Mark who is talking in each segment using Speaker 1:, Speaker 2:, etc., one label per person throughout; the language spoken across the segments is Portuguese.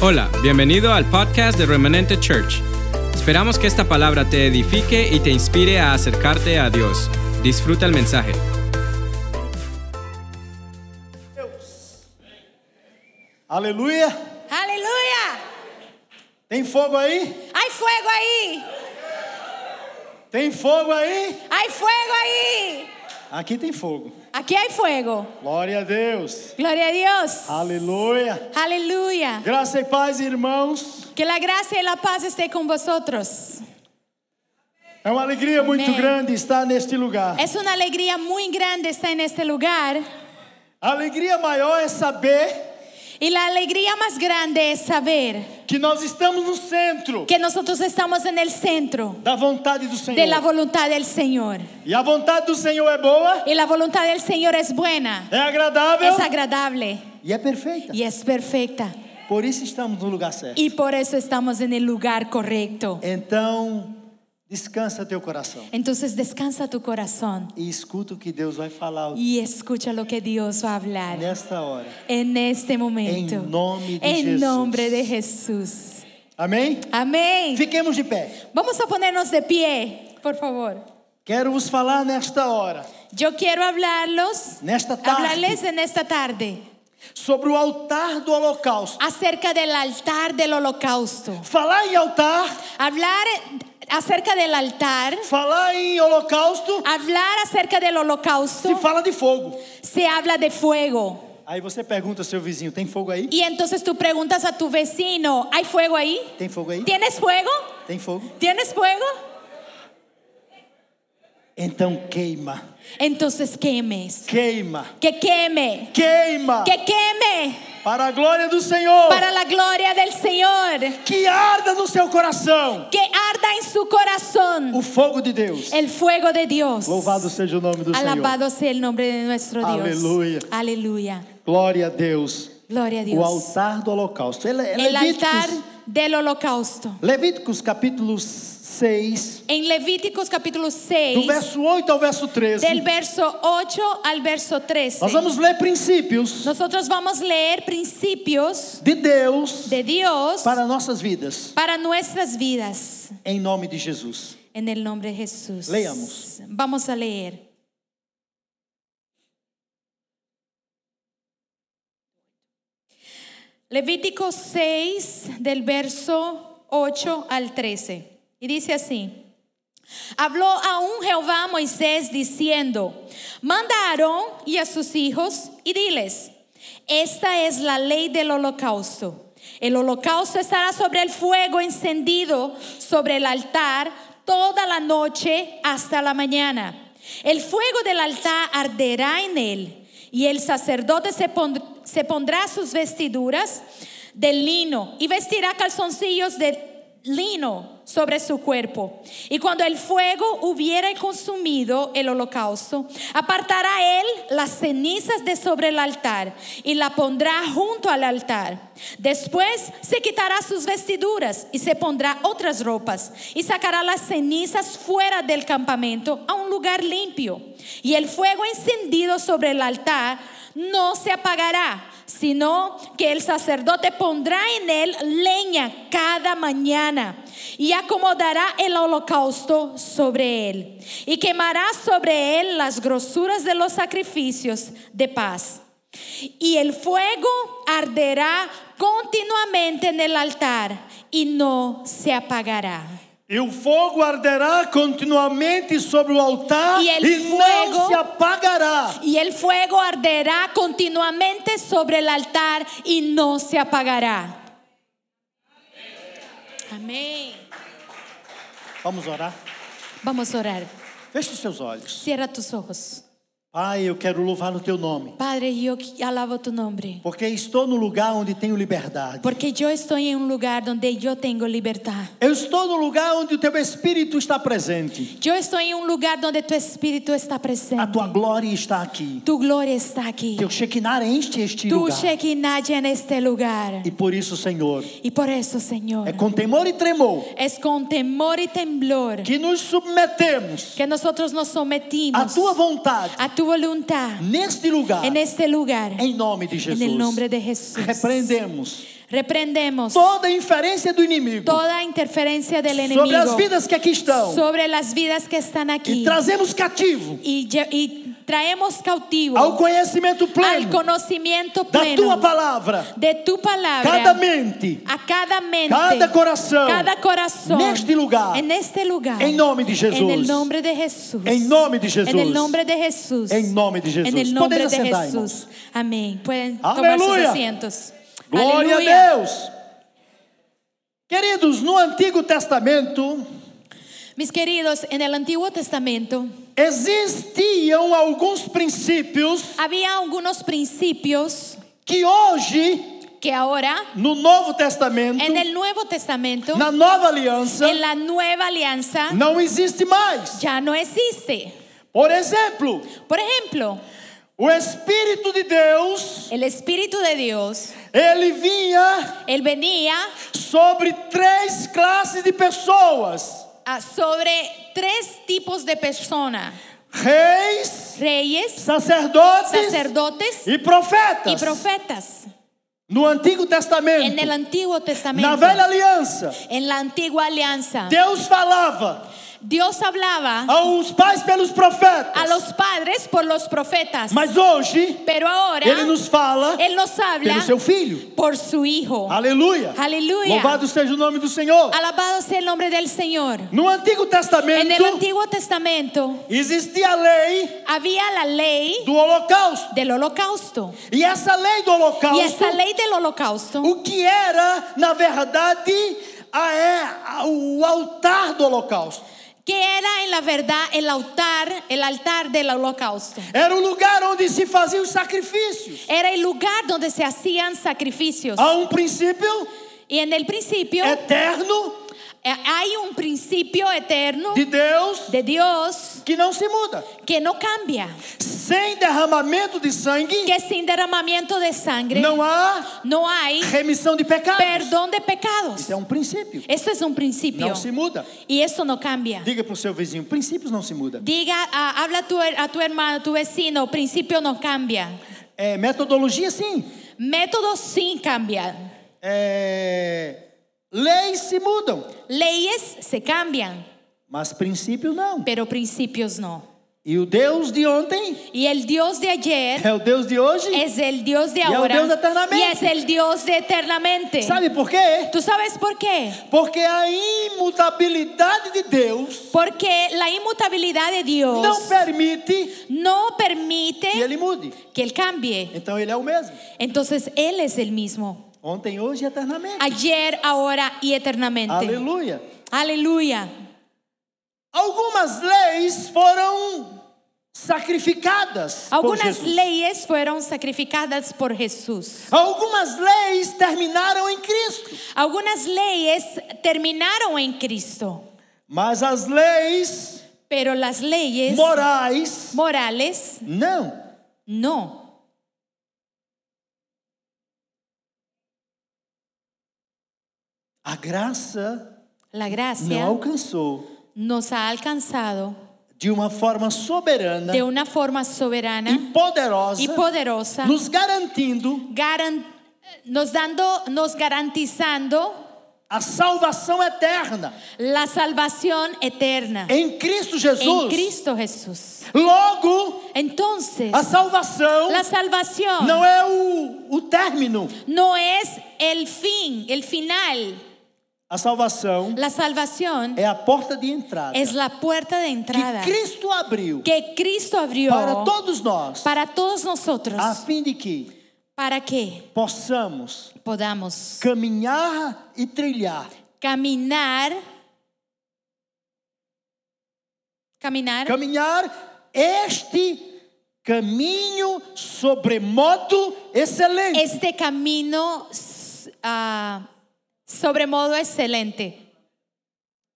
Speaker 1: Hola, bienvenido al podcast de Remanente Church. Esperamos que esta palabra te edifique y te inspire a acercarte a Dios. Disfruta el mensaje.
Speaker 2: Aleluia!
Speaker 3: Aleluia!
Speaker 2: Tem fogo aí?
Speaker 3: Hay fuego ahí.
Speaker 2: Tem fogo aí?
Speaker 3: Hay fuego ahí.
Speaker 2: Aqui tem fogo.
Speaker 3: Aquí hay fuego.
Speaker 2: Glória a Deus.
Speaker 3: Gloria a Dios.
Speaker 2: Aleluia!
Speaker 3: Aleluya.
Speaker 2: Graça e paz, irmãos.
Speaker 3: Que la gracia y la paz esté con vosotros.
Speaker 2: É uma alegria muito
Speaker 3: Amém. É-
Speaker 2: grande estar neste lugar.
Speaker 3: Es una alegría muy grande estar en este lugar.
Speaker 2: A alegria maior é saber
Speaker 3: Y la alegría más grande es saber
Speaker 2: que nós estamos no centro
Speaker 3: que nosotros estamos en el centro
Speaker 2: da vontade do Senhor.
Speaker 3: de la voluntad del Señor.
Speaker 2: E a vontade do Senhor é boa,
Speaker 3: Y la voluntad del Señor es buena,
Speaker 2: é agradável
Speaker 3: es agradable
Speaker 2: e é perfeita.
Speaker 3: y es perfecta.
Speaker 2: Por isso estamos no lugar certo.
Speaker 3: Y por eso estamos en el lugar correcto.
Speaker 2: Então, descansa teu coração
Speaker 3: Entonces descansa tu corazón.
Speaker 2: e escuta o que Deus vai falar
Speaker 3: Y escucha lo que Dios va a hablar
Speaker 2: nesta hora.
Speaker 3: en este momento.
Speaker 2: En nombre de
Speaker 3: En
Speaker 2: Jesús.
Speaker 3: nombre de Jesús.
Speaker 2: Amém?
Speaker 3: Amén.
Speaker 2: Fiquemos de pé.
Speaker 3: Vamos a ponernos de pie, por favor.
Speaker 2: Quero vos falar nesta hora,
Speaker 3: Yo quiero hablarlos,
Speaker 2: nesta tarde,
Speaker 3: hablarles en esta tarde
Speaker 2: sobre o altar do holocausto.
Speaker 3: acerca del altar del holocausto.
Speaker 2: Falar em altar,
Speaker 3: Hablar acerca del altar,
Speaker 2: falar em holocausto,
Speaker 3: hablar acerca del
Speaker 2: se
Speaker 3: holocausto,
Speaker 2: fala de fogo.
Speaker 3: se habla de fuego.
Speaker 2: Aí você pergunta ao seu vizinho: tem fogo aí?
Speaker 3: Y entonces tú preguntas a tu vecino, ¿hay fuego ahí?
Speaker 2: Tem fogo aí?
Speaker 3: ¿Tienes fuego?
Speaker 2: Tem fogo?
Speaker 3: ¿Tienes fuego?
Speaker 2: Então queima,
Speaker 3: Entonces quemes.
Speaker 2: queima,
Speaker 3: Que queme.
Speaker 2: queima,
Speaker 3: Que queme
Speaker 2: para a glória do Senhor,
Speaker 3: para la gloria del Señor.
Speaker 2: que arda no seu coração
Speaker 3: Que arda en su corazón
Speaker 2: o fogo de Deus.
Speaker 3: el fuego de Dios.
Speaker 2: Louvado seja o nome do Senhor.
Speaker 3: Alabado sea el nombre de nuestro Dios.
Speaker 2: Aleluya.
Speaker 3: Aleluya.
Speaker 2: Glória a Deus.
Speaker 3: Gloria a Dios.
Speaker 2: O altar do holocausto. Ele, é
Speaker 3: El altar
Speaker 2: Levíticos,
Speaker 3: del holocausto.
Speaker 2: Levíticos capítulo 6,
Speaker 3: En Levíticos capítulo
Speaker 2: do
Speaker 3: 6,
Speaker 2: verso 8 ao verso 13.
Speaker 3: del verso 8 al verso 13.
Speaker 2: Nós vamos ler princípios
Speaker 3: Nosotros vamos a leer principios
Speaker 2: de Deus
Speaker 3: de Dios
Speaker 2: para nossas vidas,
Speaker 3: para nuestras vidas.
Speaker 2: em nome de Jesus.
Speaker 3: En el nombre de Jesús.
Speaker 2: Leamos.
Speaker 3: Vamos a leer. Levítico 6, del verso 8 al 13. Y dice así. Habló aún Jehová a Moisés diciendo, manda a Aarón y a sus hijos y diles, esta es la ley del holocausto. El holocausto estará sobre el fuego encendido sobre el altar toda la noche hasta la mañana. El fuego del altar arderá en él y el sacerdote se, pon- se pondrá sus vestiduras de lino y vestirá calzoncillos de lino sobre su cuerpo. Y cuando el fuego hubiera consumido el holocausto, apartará él las cenizas de sobre el altar y la pondrá junto al altar. Después se quitará sus vestiduras y se pondrá otras ropas y sacará las cenizas fuera del campamento a un lugar limpio. Y el fuego encendido sobre el altar no se apagará, sino que el sacerdote pondrá en él leña cada mañana y acomodará el holocausto sobre él y quemará sobre él las grosuras de los sacrificios de paz. Y el fuego arderá continuamente en el altar y no se apagará.
Speaker 2: E o fogo arderá continuamente sobre o altar
Speaker 3: E
Speaker 2: e,
Speaker 3: ele
Speaker 2: não
Speaker 3: fuego-
Speaker 2: se apagará.
Speaker 3: Y el fuego arderá continuamente sobre el altar y no se apagará. Amén.
Speaker 2: Vamos orar.
Speaker 3: Vamos a orar.
Speaker 2: Feche os seus olhos.
Speaker 3: Cierra tus ojos.
Speaker 2: Pai, eu quero louvar o teu nome,
Speaker 3: Padre, yo alabo tu nombre.
Speaker 2: porque estou no lugar onde tenho liberdade.
Speaker 3: Porque yo estoy en un lugar donde yo tengo libertad.
Speaker 2: Eu estou no lugar onde o teu espírito está presente.
Speaker 3: Yo estoy en un lugar donde tu espíritu está
Speaker 2: A
Speaker 3: presente.
Speaker 2: tua glória está aqui.
Speaker 3: Tu gloria está aquí.
Speaker 2: Teu Shekinah enche este
Speaker 3: Tu
Speaker 2: lugar.
Speaker 3: Shekinah en este lugar.
Speaker 2: E por isso, Senhor,
Speaker 3: Y por eso, Señor,
Speaker 2: é com temor e tremor
Speaker 3: es con temor y temblor
Speaker 2: que nos submetemos
Speaker 3: que nosotros nos
Speaker 2: à
Speaker 3: sometimos
Speaker 2: tua vontade,
Speaker 3: a tu voluntad
Speaker 2: neste lugar,
Speaker 3: en este lugar.
Speaker 2: É em nome de
Speaker 3: En
Speaker 2: Jesus.
Speaker 3: el nombre de Jesús.
Speaker 2: Repreendemos
Speaker 3: Reprendemos
Speaker 2: toda inferência do inimigo
Speaker 3: toda interferencia del
Speaker 2: sobre as
Speaker 3: enemigo
Speaker 2: vidas que aqui estão
Speaker 3: sobre las vidas que están
Speaker 2: e
Speaker 3: aquí.
Speaker 2: trazemos cativo
Speaker 3: Y, lle- y traemos cautivo
Speaker 2: ao conhecimento
Speaker 3: al
Speaker 2: pleno
Speaker 3: conocimiento
Speaker 2: da tua
Speaker 3: pleno
Speaker 2: palavra,
Speaker 3: de tu
Speaker 2: cada
Speaker 3: palabra
Speaker 2: mente,
Speaker 3: a cada mente,
Speaker 2: cada coração,
Speaker 3: cada corazón
Speaker 2: neste lugar,
Speaker 3: en este lugar.
Speaker 2: em nome de
Speaker 3: En el
Speaker 2: Jesus.
Speaker 3: nombre de Jesús.
Speaker 2: Em nome de Jesus.
Speaker 3: En el nombre de Jesús.
Speaker 2: Em nome de Jesus.
Speaker 3: En el nombre
Speaker 2: Podem
Speaker 3: de
Speaker 2: assentar,
Speaker 3: Jesús. Amén. Pueden tomar sus
Speaker 2: Aleluia.
Speaker 3: asientos.
Speaker 2: Glória
Speaker 3: Aleluia.
Speaker 2: a Deus. Queridos, no Antigo Testamento
Speaker 3: Mis queridos, en el Antiguo Testamento
Speaker 2: existiam alguns princípios
Speaker 3: había algunos principios
Speaker 2: que hoje,
Speaker 3: que ahora
Speaker 2: no Novo Testamento,
Speaker 3: en el Nuevo Testamento,
Speaker 2: na Nova Aliança,
Speaker 3: en la nueva alianza,
Speaker 2: não existe mais.
Speaker 3: ya no existe.
Speaker 2: Por exemplo,
Speaker 3: Por ejemplo,
Speaker 2: o Espírito de Deus,
Speaker 3: el Espíritu de Dios,
Speaker 2: ele vinha
Speaker 3: él venía
Speaker 2: sobre três classes de pessoas:
Speaker 3: ah, sobre tres tipos de personas,
Speaker 2: reis,
Speaker 3: reyes,
Speaker 2: sacerdotes
Speaker 3: sacerdotes
Speaker 2: e profetas.
Speaker 3: y profetas.
Speaker 2: No Antigo Testamento,
Speaker 3: En el Antiguo
Speaker 2: na
Speaker 3: Testamento,
Speaker 2: Velha Aliança,
Speaker 3: en la antigua alianza,
Speaker 2: Deus falava
Speaker 3: Dios hablaba
Speaker 2: aos pais pelos profetas.
Speaker 3: a los padres por los profetas,
Speaker 2: Mas hoje,
Speaker 3: pero ahora
Speaker 2: ele nos fala
Speaker 3: Él nos habla
Speaker 2: pelo seu filho.
Speaker 3: por su Hijo.
Speaker 2: Aleluia.
Speaker 3: Aleluia.
Speaker 2: Louvado seja o nome do Senhor.
Speaker 3: Alabado sea el nombre del Señor.
Speaker 2: No Antigo Testamento,
Speaker 3: En el Antiguo Testamento
Speaker 2: existia a lei
Speaker 3: había la lei
Speaker 2: do holocausto.
Speaker 3: del holocausto.
Speaker 2: E essa lei do holocausto,
Speaker 3: Y esa ley del holocausto
Speaker 2: o que era, na verdade, a, é, a- o altar do holocausto.
Speaker 3: que era en la verdad el altar, el altar del holocausto.
Speaker 2: Era o lugar onde se faziam os sacrifícios.
Speaker 3: Era el lugar donde se hacían sacrificios.
Speaker 2: Há um princípio
Speaker 3: Y en el principio
Speaker 2: eterno
Speaker 3: eh, hay un principio eterno
Speaker 2: de Deus
Speaker 3: de Dios
Speaker 2: que não se muda.
Speaker 3: que no cambia,
Speaker 2: Sem derramamento de sangue,
Speaker 3: que é sin derramamiento de sangre
Speaker 2: não há
Speaker 3: no hay
Speaker 2: remissão de pecados.
Speaker 3: perdón de pecados.
Speaker 2: Isso é um princípio.
Speaker 3: Esto es un principio
Speaker 2: Não se muda.
Speaker 3: y eso no cambia.
Speaker 2: Diga para o seu vizinho, princípios não se mudam.
Speaker 3: Diga, ah, habla a tu, a tu hermano, tu vecino, principio no cambia.
Speaker 2: É, metodologia, sim.
Speaker 3: Métodos sin cambiar.
Speaker 2: É, leis se mudam,
Speaker 3: Leyes se cambian,
Speaker 2: mas princípios não.
Speaker 3: pero principios no.
Speaker 2: E o Deus de ontem
Speaker 3: Y el Dios de ayer
Speaker 2: é o Deus de hoje.
Speaker 3: es el Dios de
Speaker 2: el
Speaker 3: ahora
Speaker 2: Dios de eternamente.
Speaker 3: y es el Dios de eternamente.
Speaker 2: Sabe por quê?
Speaker 3: ¿Tú sabes por qué?
Speaker 2: Porque a imutabilidade de Deus
Speaker 3: Porque la inmutabilidad de Dios
Speaker 2: não permite
Speaker 3: no
Speaker 2: que
Speaker 3: permite
Speaker 2: ele mude.
Speaker 3: que Él cambie.
Speaker 2: Então ele é o mesmo.
Speaker 3: Entonces Él es el mismo.
Speaker 2: Ontem, hoje e eternamente.
Speaker 3: Ayer, ahora y eternamente.
Speaker 2: Aleluia.
Speaker 3: Aleluia.
Speaker 2: Algumas leis foram sacrificadas. por
Speaker 3: Algunas
Speaker 2: Jesus.
Speaker 3: leyes fueron sacrificadas por Jesús.
Speaker 2: Algumas leis terminaram em Cristo.
Speaker 3: Algunas leyes terminaron en Cristo.
Speaker 2: Mas as leis
Speaker 3: Pero las leyes
Speaker 2: morais,
Speaker 3: morales
Speaker 2: não.
Speaker 3: no.
Speaker 2: A graça
Speaker 3: La gracia
Speaker 2: não alcançou
Speaker 3: nos ha alcanzado
Speaker 2: de uma forma soberana
Speaker 3: de una forma soberana
Speaker 2: e poderosa,
Speaker 3: y poderosa,
Speaker 2: nos garantindo
Speaker 3: garan- nos dando, nos garantizando
Speaker 2: a salvação eterna
Speaker 3: la salvación eterna
Speaker 2: em Cristo
Speaker 3: en
Speaker 2: Jesus.
Speaker 3: Cristo Jesús.
Speaker 2: Logo,
Speaker 3: Entonces,
Speaker 2: a salvação
Speaker 3: la salvación
Speaker 2: não é o, o término.
Speaker 3: no es el fin, el final.
Speaker 2: A salvação
Speaker 3: La salvación
Speaker 2: é a porta de entrada
Speaker 3: es la puerta de É entrada
Speaker 2: que Eh, Cristo abriu
Speaker 3: que Cristo abrió
Speaker 2: para todos nós,
Speaker 3: para todos nosotros.
Speaker 2: a fim de que
Speaker 3: Para que
Speaker 2: possamos
Speaker 3: podamos
Speaker 2: caminhar e trilhar,
Speaker 3: caminar. Caminar.
Speaker 2: caminhar este caminho sobremodo excelente.
Speaker 3: este camino s- ah, sobremodo excelente.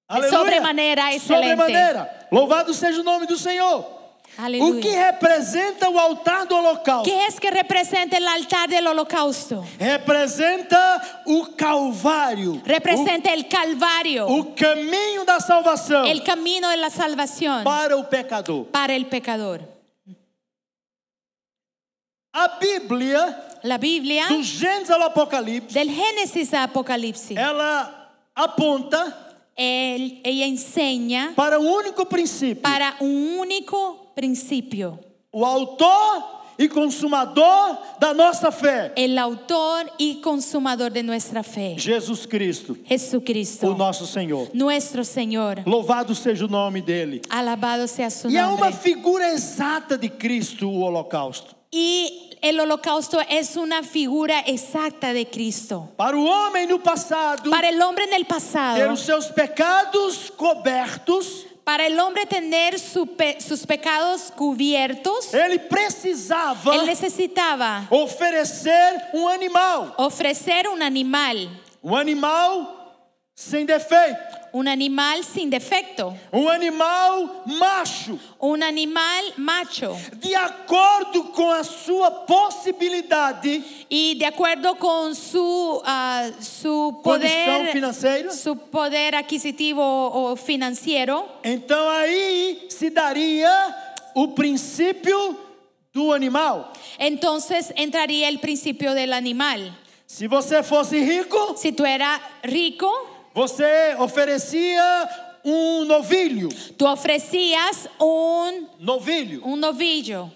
Speaker 2: Aleluia.
Speaker 3: sobremaneira excelente.
Speaker 2: Sobremaneira. Louvado seja o nome do Senhor. O que
Speaker 3: Aleluya.
Speaker 2: representa o altar do holocausto?
Speaker 3: ¿Qué es que representa el altar del holocausto?
Speaker 2: Representa o Calvário.
Speaker 3: Representa el Calvario,
Speaker 2: O, o caminho da salvação
Speaker 3: tá el camino de la salvación
Speaker 2: para o pecador.
Speaker 3: para el pecador.
Speaker 2: A Bíblia,
Speaker 3: La Bíblia,
Speaker 2: do Gênesis ao Apocalipse,
Speaker 3: del Génesis a Apocalipse,
Speaker 2: ela aponta
Speaker 3: él- ella enseña
Speaker 2: para o único princípio:
Speaker 3: para un único principio.
Speaker 2: o autor e consumador da nossa fé,
Speaker 3: El autor y consumador de nuestra fe,
Speaker 2: Jesus Cristo,
Speaker 3: Jesucristo,
Speaker 2: o nosso Senhor.
Speaker 3: nuestro Señor.
Speaker 2: Louvado seja o nome dele.
Speaker 3: Alabado sea su
Speaker 2: E é uma
Speaker 3: nombre.
Speaker 2: figura exata de Cristo, o holocausto.
Speaker 3: Y el holocausto es una figura exacta de Cristo.
Speaker 2: Para o homem no passado
Speaker 3: Para el hombre en el
Speaker 2: ter
Speaker 3: pasado,
Speaker 2: os seus pecados cobertos,
Speaker 3: para el hombre tener su pe- sus pecados cubiertos,
Speaker 2: ele precisava
Speaker 3: él necesitaba
Speaker 2: oferecer um animal,
Speaker 3: ofrecer un animal,
Speaker 2: um animal sem defeito,
Speaker 3: un animal sin defecto,
Speaker 2: um animal macho,
Speaker 3: un animal macho.
Speaker 2: de acordo com a sua possibilidade,
Speaker 3: Y de acuerdo con su, ah, su poder
Speaker 2: Condición financiera.
Speaker 3: su poder adquisitivo o financiero,
Speaker 2: então aí se daria o princípio do animal.
Speaker 3: Entonces entraría el principio del animal.
Speaker 2: Se você fosse rico,
Speaker 3: Si tú eras rico,
Speaker 2: você oferecia um novilho,
Speaker 3: tú ofrecías un,
Speaker 2: novilho.
Speaker 3: un novillo.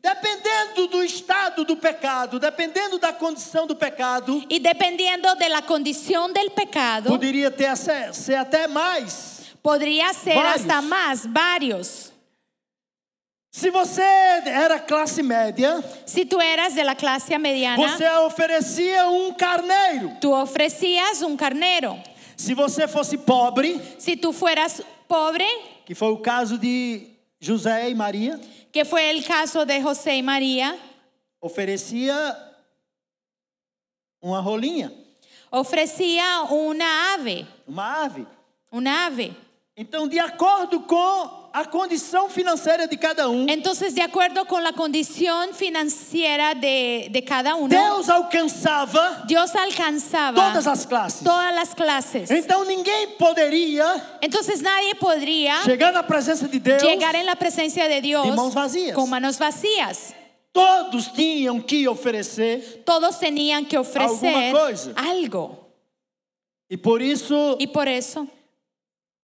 Speaker 2: Dependendo do estado do pecado, dependendo da condição do pecado,
Speaker 3: Y dependiendo de la condición del pecado,
Speaker 2: poderia ter até, ser até mais.
Speaker 3: podría ser
Speaker 2: Varios.
Speaker 3: hasta más, varios.
Speaker 2: Se você era classe média,
Speaker 3: Si tú eras de la clase mediana,
Speaker 2: você oferecia um carneiro.
Speaker 3: tú ofrecías un carnero.
Speaker 2: Se você fosse pobre,
Speaker 3: Si tú fueras pobre,
Speaker 2: que foi o caso de José e Maria,
Speaker 3: que fue el caso de José y María,
Speaker 2: oferecia uma rolinha,
Speaker 3: ofrecía una ave,
Speaker 2: uma ave.
Speaker 3: una ave.
Speaker 2: Então, de acordo com a condição financeira de cada um,
Speaker 3: Entonces, de acuerdo con la condición financiera de, de cada uno,
Speaker 2: Deus alcançava
Speaker 3: Dios alcanzaba
Speaker 2: todas ¿Eh? as classes.
Speaker 3: todas las clases.
Speaker 2: Então ninguém poderia
Speaker 3: Entonces, nadie podría
Speaker 2: chegar na presença de Deus.
Speaker 3: llegar en la presencia de Dios
Speaker 2: Y manos vacías.
Speaker 3: con manos vacías.
Speaker 2: Todos tinham que oferecer
Speaker 3: Todos tenían que ofrecer
Speaker 2: Alguma coisa.
Speaker 3: algo.
Speaker 2: e por isso
Speaker 3: Y por eso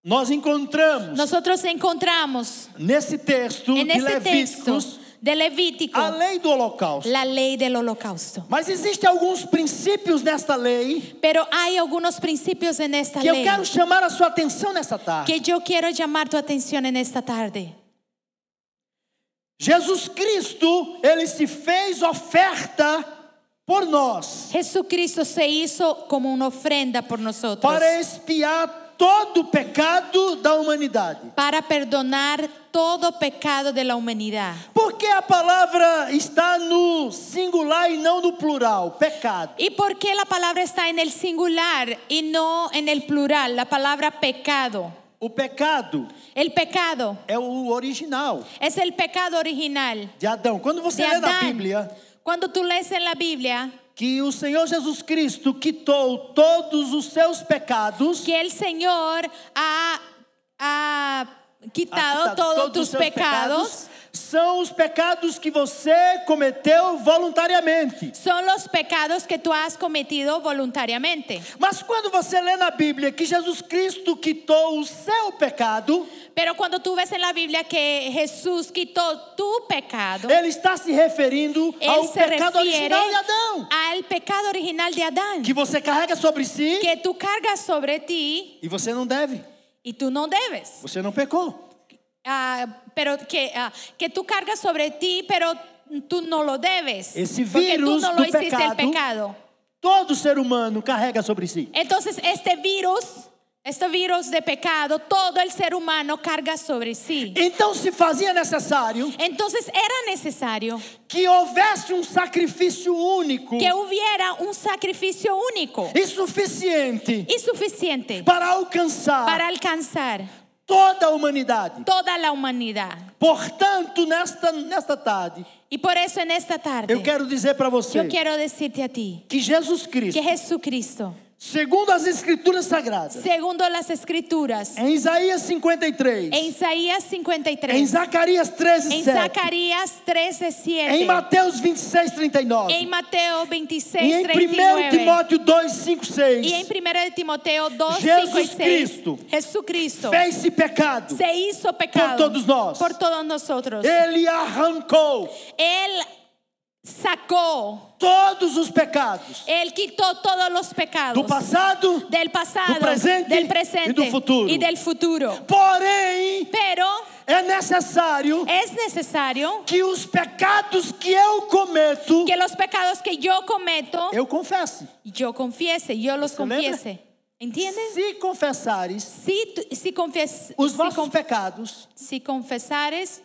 Speaker 2: nós encontramos
Speaker 3: nosotros encontramos
Speaker 2: nesse texto
Speaker 3: en
Speaker 2: de
Speaker 3: este texto
Speaker 2: Levíticos
Speaker 3: de Levítico
Speaker 2: a lei do holocausto.
Speaker 3: la ley del holocausto.
Speaker 2: Mas existem alguns princípios nesta lei
Speaker 3: Pero hay algunos principios en esta
Speaker 2: que eu
Speaker 3: ley
Speaker 2: quero chamar a sua atenção nessa tarde.
Speaker 3: que yo quiero llamar tu atención en esta tarde.
Speaker 2: Jesus Cristo, ele se fez oferta por nós
Speaker 3: Jesucristo se hizo como una ofrenda por nosotros
Speaker 2: para expiar todo o pecado da humanidade.
Speaker 3: para perdonar todo pecado de la humanidad.
Speaker 2: Porque a palavra está no singular e não no plural, pecado.
Speaker 3: ¿Y por qué la palabra está en el singular y no en el plural? La palabra pecado.
Speaker 2: O pecado
Speaker 3: El pecado
Speaker 2: é o original
Speaker 3: es el pecado original
Speaker 2: de Adão. Quando você
Speaker 3: de
Speaker 2: lê na
Speaker 3: Adán.
Speaker 2: Bíblia
Speaker 3: Cuando tú lees en la Biblia
Speaker 2: que o Senhor Jesus Cristo quitou todos os seus pecados,
Speaker 3: que el Señor ha, ha quitado
Speaker 2: ah,
Speaker 3: todos,
Speaker 2: os
Speaker 3: tus
Speaker 2: seus
Speaker 3: pecados,
Speaker 2: são os pecados que você cometeu voluntariamente.
Speaker 3: son los pecados que tú has cometido voluntariamente.
Speaker 2: Mas quando você lê na Bíblia que Jesus Cristo quitou o seu pecado,
Speaker 3: Pero cuando tú ves en la Biblia que Jesús quitó tu pecado,
Speaker 2: ele está se referindo
Speaker 3: Él
Speaker 2: ao
Speaker 3: se
Speaker 2: pecado
Speaker 3: refiere
Speaker 2: original de Adão.
Speaker 3: al pecado original de Adán,
Speaker 2: que você carrega sobre si
Speaker 3: um que tú cargas sobre ti
Speaker 2: e você não deve,
Speaker 3: y tú no debes.
Speaker 2: você não pecou.
Speaker 3: Ah, pero que, ah, que tú cargas sobre ti, pero tú no lo debes.
Speaker 2: Ese
Speaker 3: porque tú
Speaker 2: virus
Speaker 3: no lo
Speaker 2: do
Speaker 3: hiciste
Speaker 2: pecado.
Speaker 3: el pecado.
Speaker 2: Todo ser humano carrega sobre si.
Speaker 3: Entonces, este virus, este virus de pecado, todo el ser humano carga sobre sí.
Speaker 2: Então se fazia necessário
Speaker 3: Entonces era necesario
Speaker 2: que houvesse um sacrifício único
Speaker 3: que é hubiera un sacrificio único.
Speaker 2: e suficiente
Speaker 3: y suficiente
Speaker 2: para alcançar
Speaker 3: para alcanzar
Speaker 2: toda a humanidade.
Speaker 3: toda la humanidad.
Speaker 2: Portanto, nesta, nesta tarde,
Speaker 3: Y por eso en esta tarde
Speaker 2: eu quero dizer para você
Speaker 3: yo quiero decirte a ti
Speaker 2: que Jesus Cristo
Speaker 3: que Jesucristo
Speaker 2: Segundo as Escrituras Sagradas,
Speaker 3: segundo las escrituras.
Speaker 2: em Isaías 53,
Speaker 3: En Isaías
Speaker 2: em
Speaker 3: 53,
Speaker 2: Zacarias 13,
Speaker 3: en
Speaker 2: 7,
Speaker 3: Zacarías
Speaker 2: em
Speaker 3: 13:7,
Speaker 2: Mateus 26, 39,
Speaker 3: en Mateo 26,
Speaker 2: e em 1 Timóteo 2, 5, 6,
Speaker 3: y en 1 de Timoteo 2,
Speaker 2: Jesus
Speaker 3: 5 y 6.
Speaker 2: Cristo
Speaker 3: Jesucristo
Speaker 2: fez-se pecado,
Speaker 3: se hizo pecado
Speaker 2: todos Eh. nós.
Speaker 3: por todos nosotros.
Speaker 2: ele arrancou
Speaker 3: Él sacó,
Speaker 2: todos os pecados
Speaker 3: Él quitó todos los pecados
Speaker 2: do passado,
Speaker 3: del pasado,
Speaker 2: do presente
Speaker 3: del presente
Speaker 2: e do futuro.
Speaker 3: y del futuro.
Speaker 2: porém,
Speaker 3: Pero
Speaker 2: é necessário
Speaker 3: es necesario
Speaker 2: que os pecados que eu cometo,
Speaker 3: que los pecados que yo cometo,
Speaker 2: eu confesse.
Speaker 3: yo confiese, yo los
Speaker 2: ¿Se lembra?
Speaker 3: confiese.
Speaker 2: né?
Speaker 3: ¿Entiendes?
Speaker 2: Se confessares
Speaker 3: Si, tu- si, confies-
Speaker 2: os
Speaker 3: si
Speaker 2: vossos
Speaker 3: con-
Speaker 2: pecados,
Speaker 3: si confesares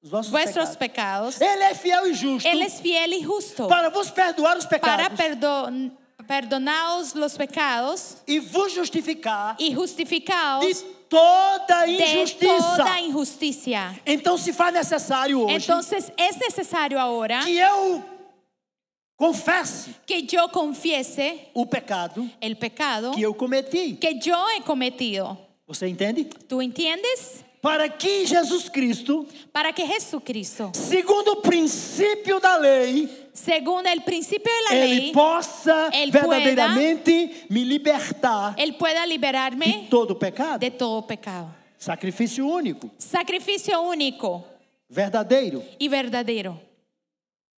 Speaker 2: os vossos
Speaker 3: vuestros
Speaker 2: pecados,
Speaker 3: pecados,
Speaker 2: ele é fiel e justo
Speaker 3: Él es fiel y justo
Speaker 2: para vos perdoar os pecados
Speaker 3: para perdon- perdonaros los pecados
Speaker 2: e vos justificar
Speaker 3: y
Speaker 2: de
Speaker 3: justificaos
Speaker 2: toda
Speaker 3: de
Speaker 2: injustiça.
Speaker 3: toda Então, injusticia.
Speaker 2: Então se faz necessário hoje
Speaker 3: Entonces es necesario ahora
Speaker 2: que eu confesse
Speaker 3: que yo confiese
Speaker 2: o pecado
Speaker 3: el pecado
Speaker 2: que eu cometi.
Speaker 3: que yo he cometido.
Speaker 2: Você entende?
Speaker 3: ¿Tú entiendes?
Speaker 2: Para que Jesus Cristo,
Speaker 3: Para que Jesucristo,
Speaker 2: segundo o princípio da lei,
Speaker 3: según el principio de la
Speaker 2: ele
Speaker 3: ley,
Speaker 2: possa
Speaker 3: Ele
Speaker 2: verdadeiramente me libertar
Speaker 3: Él pueda
Speaker 2: de
Speaker 3: liberarme
Speaker 2: todo pecado.
Speaker 3: de todo pecado.
Speaker 2: Sacrifício único,
Speaker 3: Sacrificio único
Speaker 2: verdadeiro
Speaker 3: y verdadero.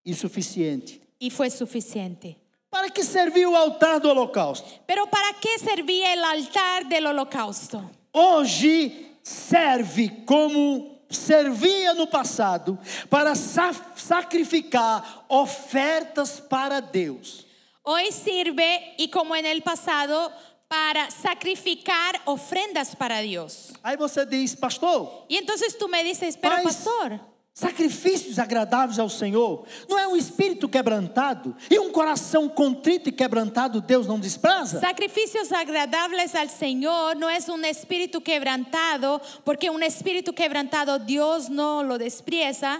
Speaker 2: e suficiente.
Speaker 3: Y fue suficiente.
Speaker 2: Para que serviu o altar do holocausto?
Speaker 3: Pero ¿para qué servía el altar del holocausto?
Speaker 2: Hoje serve como servia no passado para sa- sacrificar ofertas para Deus.
Speaker 3: Hoy sirve y como en el pasado para sacrificar ofrendas para Dios.
Speaker 2: Aí você diz, pastor,
Speaker 3: Y entonces tú me dices, pero
Speaker 2: Mas-
Speaker 3: pastor,
Speaker 2: sacrifícios agradáveis ao Senhor não é um espírito quebrantado e um coração contrito e quebrantado Deus não despraza?
Speaker 3: sacrificios agradables al Señor no es un espíritu quebrantado, porque un espíritu quebrantado Dios no lo desprecia.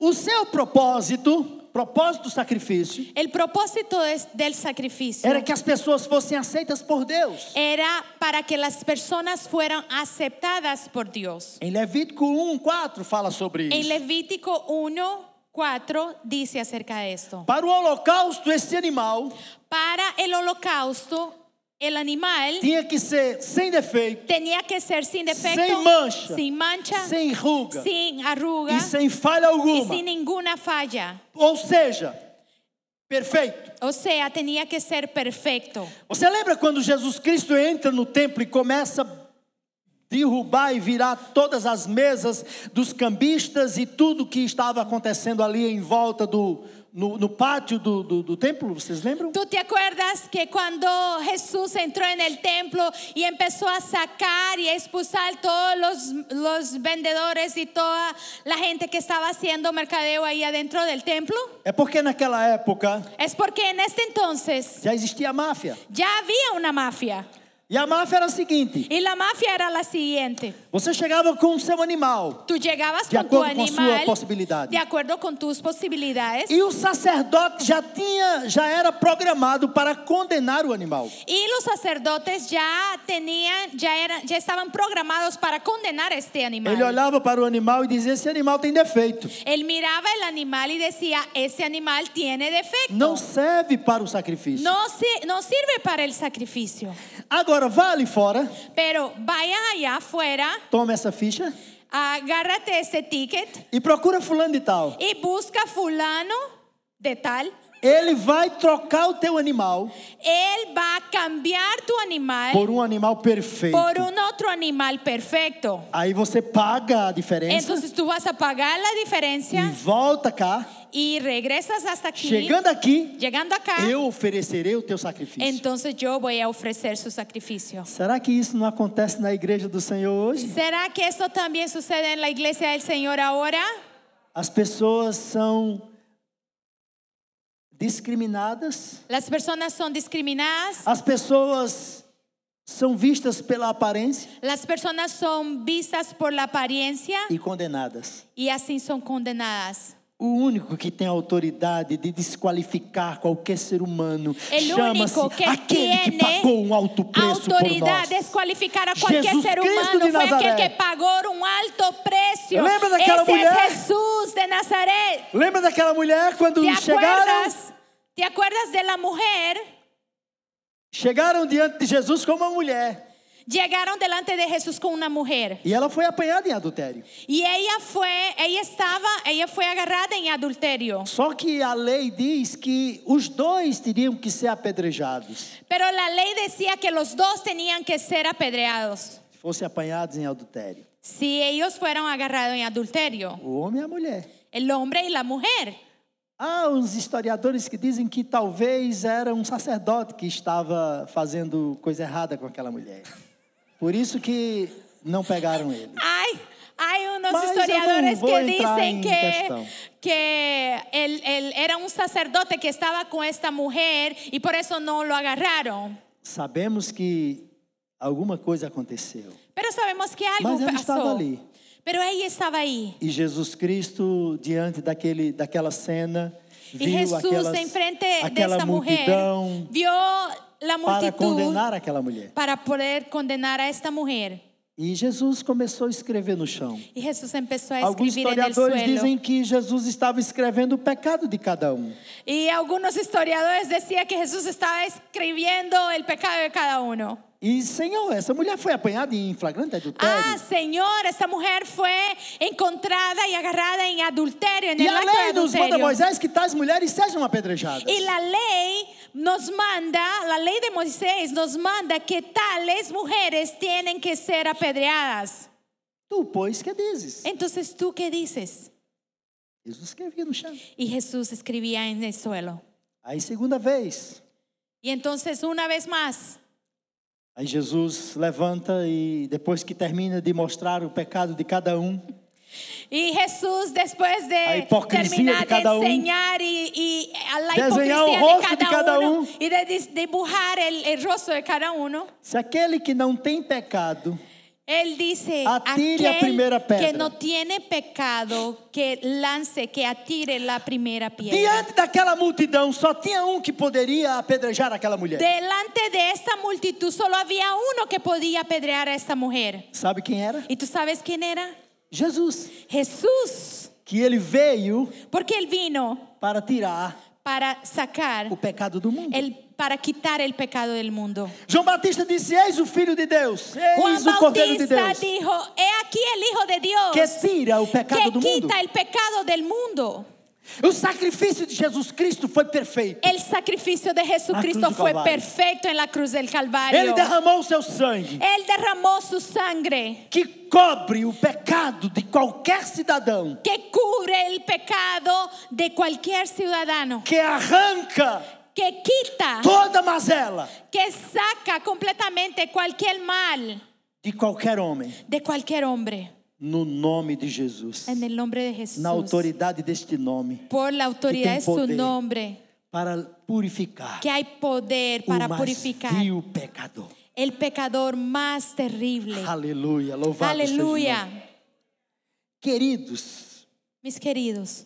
Speaker 2: O seu propósito, propósito do sacrifício,
Speaker 3: El propósito es- del sacrificio
Speaker 2: era que as pessoas fossem aceitas por Deus.
Speaker 3: era para que las personas fueran aceptadas por Dios.
Speaker 2: Em Levítico 1, 4 fala sobre
Speaker 3: En
Speaker 2: isso.
Speaker 3: Levítico 1, 4 dice acerca de esto.
Speaker 2: Para o holocausto, esse animal
Speaker 3: Para el holocausto, el animal
Speaker 2: tinha que ser sem defeito,
Speaker 3: tenía que ser sin defecto,
Speaker 2: Sem mancha.
Speaker 3: sin mancha,
Speaker 2: sem ruga
Speaker 3: sin arruga
Speaker 2: e sem falha
Speaker 3: y
Speaker 2: alguma.
Speaker 3: sin ninguna falla.
Speaker 2: Ou seja, perfeito.
Speaker 3: O sea, tenía que ser perfecto.
Speaker 2: Você lembra quando Jesus Cristo entra no templo e começa a derrubar e virar todas as mesas dos cambistas e tudo que estava acontecendo ali em volta do no, no pátio do, do, do templo? Vocês lembram?
Speaker 3: ¿Tú te acuerdas que cuando Jesús entró en el templo y empezó a sacar y a expulsar todos los, los vendedores y toda la gente que estaba haciendo mercadeo ahí adentro del templo?
Speaker 2: É porque naquela época
Speaker 3: Es porque en este entonces
Speaker 2: já existia a máfia.
Speaker 3: ya había una mafia.
Speaker 2: E a máfia era a seguinte:
Speaker 3: Y la mafia era la siguiente.
Speaker 2: você chegava com o seu animal
Speaker 3: Tú llegabas
Speaker 2: De
Speaker 3: con tu
Speaker 2: acuerdo con su
Speaker 3: animal
Speaker 2: posibilidad.
Speaker 3: de acuerdo con tus posibilidades.
Speaker 2: e o sacerdote já tinha, já era programado para condenar o animal.
Speaker 3: Y los sacerdotes ya tenían, ya eran, ya estaban programados para condenar a este
Speaker 2: Ele
Speaker 3: animal.
Speaker 2: olhava para o animal e dizia: esse animal tem defeito.
Speaker 3: Él miraba el animal y decía, ese animal tiene defecto.
Speaker 2: não serve para o sacrifício.
Speaker 3: No si- no sirve para el sacrificio.
Speaker 2: Agora vá ali fora,
Speaker 3: Pero vaya allá afuera,
Speaker 2: toma essa ficha
Speaker 3: agárrate este ticket
Speaker 2: e procura fulano de tal.
Speaker 3: y busca fulano de tal.
Speaker 2: Ele vai trocar o teu animal
Speaker 3: Él va a cambiar tu animal
Speaker 2: por um animal perfeito.
Speaker 3: É. por um- un otro animal perfecto.
Speaker 2: Aí você paga a diferença
Speaker 3: Entonces tú vas a pagar la
Speaker 2: e
Speaker 3: diferencia
Speaker 2: volta cá.
Speaker 3: y regresas hasta aquí.
Speaker 2: Chegando aqui,
Speaker 3: Llegando acá,
Speaker 2: eu oferecerei o teu sacrifício.
Speaker 3: entonces yo voy a ofrecer su sacrificio.
Speaker 2: Será que isso não acontece na igreja do Senhor hoje?
Speaker 3: ¿Será que esto también sucede en la iglesia del Señor ahora?
Speaker 2: As pessoas são discriminadas,
Speaker 3: Las personas son discriminadas,
Speaker 2: as pessoas são vistas pela aparência
Speaker 3: las personas son vistas por la apariencia
Speaker 2: e condenadas.
Speaker 3: y así son condenadas.
Speaker 2: O único que tem autoridade de desqualificar qualquer ser humano
Speaker 3: El
Speaker 2: chama-se
Speaker 3: É único que né?
Speaker 2: aquele que
Speaker 3: tiene
Speaker 2: pagou um alto preço por
Speaker 3: autoridad
Speaker 2: nós.
Speaker 3: de desqualificar a cualquier
Speaker 2: Jesús
Speaker 3: ser
Speaker 2: Cristo de
Speaker 3: humano fue aquel
Speaker 2: Nazaret.
Speaker 3: que pagó un alto precio.
Speaker 2: Lembra daquela
Speaker 3: Ese
Speaker 2: mulher?
Speaker 3: es Jesús de Nazaret.
Speaker 2: Lembra daquela mulher quando
Speaker 3: ¿Te
Speaker 2: chegaram,
Speaker 3: acuerdas? ¿Te acuerdas de la mujer?
Speaker 2: chegaram diante de Jesus com uma mulher
Speaker 3: Llegaron delante de Jesús con una mujer
Speaker 2: e ela foi apanhada em adultério.
Speaker 3: y ella fue, ella estaba, ella fue agarrada en adulterio.
Speaker 2: Só que a lei diz que os dois teriam que ser apedrejados.
Speaker 3: Pero la ley decía que los dos tenían que ser apedreados
Speaker 2: se fossem apanhados em adultério.
Speaker 3: si ellos fueron agarrados en adulterio,
Speaker 2: O homem e a mulher.
Speaker 3: el hombre y la mujer.
Speaker 2: Há uns historiadores que dizem que talvez era um sacerdote que estava fazendo coisa errada com aquela mulher. Por isso que não pegaram ele.
Speaker 3: Hay, hay unos
Speaker 2: Mas eu não
Speaker 3: historiadores
Speaker 2: vou
Speaker 3: que
Speaker 2: entrar em
Speaker 3: dicen que,
Speaker 2: questão.
Speaker 3: que él, él era un sacerdote que estaba con esta mujer y por eso no lo agarraron.
Speaker 2: Sabemos que alguma coisa aconteceu.
Speaker 3: Pero sabemos que algo
Speaker 2: Mas ela estava
Speaker 3: pasó.
Speaker 2: ali.
Speaker 3: Pero ella estaba ahí.
Speaker 2: E Jesus Cristo, diante daquele, daquela cena,
Speaker 3: Y
Speaker 2: viu
Speaker 3: Jesús
Speaker 2: aquelas,
Speaker 3: enfrente de
Speaker 2: aquela
Speaker 3: esta mujer
Speaker 2: multidão
Speaker 3: vio
Speaker 2: para
Speaker 3: la multitud
Speaker 2: condenar aquela mulher.
Speaker 3: para poder condenar a esta mujer.
Speaker 2: E Jesus começou a escrever no chão.
Speaker 3: Y Jesús empezó a
Speaker 2: Alguns
Speaker 3: escribir en el
Speaker 2: historiadores
Speaker 3: suelo.
Speaker 2: dizem que Jesus estava escrevendo o pecado de cada um.
Speaker 3: Y algunos historiadores decían que Jesús estaba escribiendo el pecado de cada uno.
Speaker 2: E, Senhor, essa mulher foi apanhada em flagrante adultério.
Speaker 3: Ah, Señor, esta mujer fue encontrada y agarrada en adulterio, en
Speaker 2: e
Speaker 3: el
Speaker 2: a
Speaker 3: acto de
Speaker 2: lei nos manda,
Speaker 3: adulterio.
Speaker 2: Moisés, que tais mulheres sejam apedrejadas.
Speaker 3: Y la ley nos manda, la ley de Moisés nos manda que tales mujeres tienen que ser apedreadas.
Speaker 2: Tu, pois, que dizes?
Speaker 3: Entonces, ¿tú qué dices?
Speaker 2: Jesus escrevia no chão.
Speaker 3: Y Jesús escribía en el suelo.
Speaker 2: Aí, segunda vez,
Speaker 3: Y entonces, una vez más,
Speaker 2: aí Jesus levanta e depois que termina de mostrar o pecado de cada um,
Speaker 3: Y Jesús, después
Speaker 2: A
Speaker 3: de
Speaker 2: hipocrisia de
Speaker 3: terminar de,
Speaker 2: cada um.
Speaker 3: enseñar y, y a la
Speaker 2: Desenhar o
Speaker 3: hipocresía de
Speaker 2: rosto
Speaker 3: cada,
Speaker 2: de cada
Speaker 3: uno
Speaker 2: um.
Speaker 3: y de dis- dibujar el, el rostro de cada uno,
Speaker 2: se aquele que não tem pecado,
Speaker 3: él dice,
Speaker 2: Atire a
Speaker 3: aquel
Speaker 2: primeira pedra."
Speaker 3: que no tiene pecado, que lance, que atire la primera piedra.
Speaker 2: diante daquela multidão, só tinha um que poderia apedrejar aquela mulher.
Speaker 3: Delante de esta multitud solo había uno que podía apedrear a esta mujer.
Speaker 2: Sabe quem era?
Speaker 3: ¿Y tú sabes quién era?
Speaker 2: Jesus.
Speaker 3: Jesús,
Speaker 2: que ele veio
Speaker 3: porque él vino
Speaker 2: para tirar
Speaker 3: para sacar,
Speaker 2: o pecado do mundo.
Speaker 3: el, para quitar el pecado del mundo.
Speaker 2: João Batista disse: Eis o Filho de Deus, eis
Speaker 3: Juan
Speaker 2: o Cordeiro de Deus,
Speaker 3: Bautista dijo, he aquí el Hijo de Dios
Speaker 2: que tira o
Speaker 3: que
Speaker 2: pecado do mundo.
Speaker 3: quita el pecado del mundo.
Speaker 2: O sacrifício de Jesus Cristo foi perfeito.
Speaker 3: El sacrificio de
Speaker 2: La
Speaker 3: Jesucristo
Speaker 2: cruz del
Speaker 3: fue
Speaker 2: Calvario.
Speaker 3: perfecto en la cruz del
Speaker 2: Ele
Speaker 3: Calvario.
Speaker 2: derramou o seu sangue,
Speaker 3: Él derramó su sangre
Speaker 2: que cobre o pecado de qualquer cidadão,
Speaker 3: que cubre el pecado de cualquier ciudadano,
Speaker 2: que arranca
Speaker 3: que quita,
Speaker 2: toda mazela
Speaker 3: que saca completamente cualquier mal
Speaker 2: de qualquer homem,
Speaker 3: de cualquier hombre.
Speaker 2: no nome de Jesus,
Speaker 3: En el nombre de Jesús.
Speaker 2: na autoridade deste nome,
Speaker 3: por la autoridad de su
Speaker 2: poder.
Speaker 3: nombre,
Speaker 2: para purificar
Speaker 3: que hay poder
Speaker 2: o
Speaker 3: para
Speaker 2: mais
Speaker 3: purificar.
Speaker 2: vil pecador.
Speaker 3: el pecador más terrible.
Speaker 2: Aleluia, louvado seja o seu nome.
Speaker 3: Aleluya.
Speaker 2: Queridos,
Speaker 3: Mis queridos,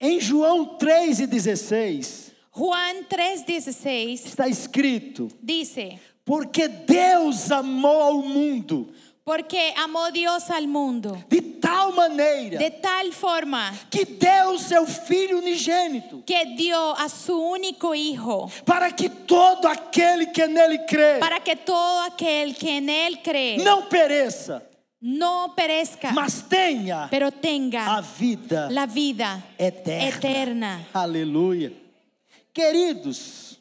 Speaker 2: em João 3,16
Speaker 3: Juan 3:16
Speaker 2: está escrito:
Speaker 3: dice,
Speaker 2: Porque Deus amou ao mundo
Speaker 3: porque amó Dios al mundo
Speaker 2: de tal maneira
Speaker 3: de tal forma
Speaker 2: que deu seu Filho unigênito,
Speaker 3: que dio a su único hijo
Speaker 2: para que todo aquele que nele crê
Speaker 3: para que todo aquel que en él cree
Speaker 2: não pereça,
Speaker 3: no perezca,
Speaker 2: mas tenha
Speaker 3: pero
Speaker 2: a
Speaker 3: tenga
Speaker 2: vida
Speaker 3: la vida
Speaker 2: eterna.
Speaker 3: eterna.
Speaker 2: Aleluia. Queridos,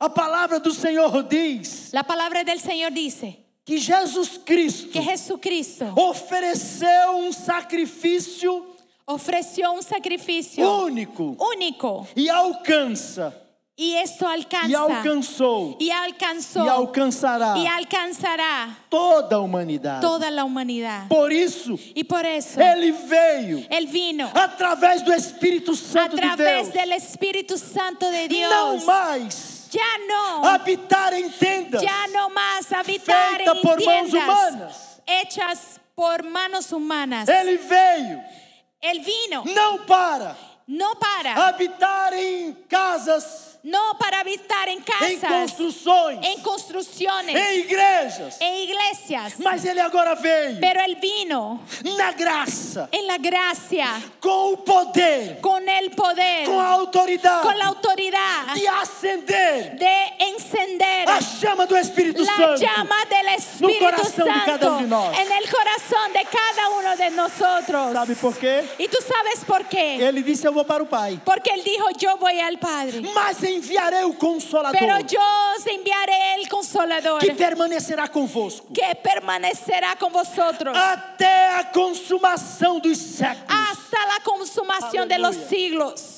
Speaker 2: a palavra do Senhor diz
Speaker 3: La palabra del Señor dice
Speaker 2: que Jesus Cristo
Speaker 3: que Jesucristo
Speaker 2: ofereceu um sacrifício
Speaker 3: ofreció un sacrificio
Speaker 2: único
Speaker 3: único
Speaker 2: e alcança
Speaker 3: y esto
Speaker 2: e
Speaker 3: alcanza
Speaker 2: alcançou
Speaker 3: y
Speaker 2: e
Speaker 3: alcanzó
Speaker 2: alcançará
Speaker 3: y alcanzará
Speaker 2: toda a humanidade.
Speaker 3: toda la humanidad.
Speaker 2: Por isso
Speaker 3: Y por eso
Speaker 2: ele veio
Speaker 3: Él vino
Speaker 2: através do Espírito
Speaker 3: a
Speaker 2: Santo de Deus.
Speaker 3: través del Espíritu Santo de
Speaker 2: Não
Speaker 3: Dios.
Speaker 2: mais
Speaker 3: Ya no,
Speaker 2: habitar em tendas
Speaker 3: ya no más habitar
Speaker 2: feita por
Speaker 3: en
Speaker 2: mãos
Speaker 3: tiendas
Speaker 2: humanas.
Speaker 3: hechas por manos humanas.
Speaker 2: Ele veio
Speaker 3: Él vino
Speaker 2: não para
Speaker 3: no para,
Speaker 2: habitar em casas,
Speaker 3: no para habitar en
Speaker 2: em
Speaker 3: casas,
Speaker 2: construções,
Speaker 3: en construcciones,
Speaker 2: em igrejas.
Speaker 3: en iglesias.
Speaker 2: Mas ele agora veio
Speaker 3: Pero él vino
Speaker 2: na graça,
Speaker 3: en la gracia,
Speaker 2: com o poder,
Speaker 3: con el poder,
Speaker 2: com a autoridade
Speaker 3: con la autoridad
Speaker 2: de acender
Speaker 3: de encender
Speaker 2: a chama do Espírito
Speaker 3: la
Speaker 2: Ah, Santo
Speaker 3: llama del Espíritu
Speaker 2: coração de cada
Speaker 3: Santo
Speaker 2: um de nós.
Speaker 3: en el corazón de cada uno de
Speaker 2: Sabe
Speaker 3: nosotros.
Speaker 2: por Eh. quê?
Speaker 3: Y tú sabes por qué.
Speaker 2: Ele disse: Eu vou para o Pai,
Speaker 3: Porque él dijo, yo voy al Padre,
Speaker 2: mas enviarei o Consolador
Speaker 3: pero yo os enviaré el consolador
Speaker 2: que permanecerá convosco
Speaker 3: que permanecerá con vosotros
Speaker 2: Ah. até a consumação dos séculos.
Speaker 3: hasta la consumación de los
Speaker 2: Aleluya.
Speaker 3: siglos.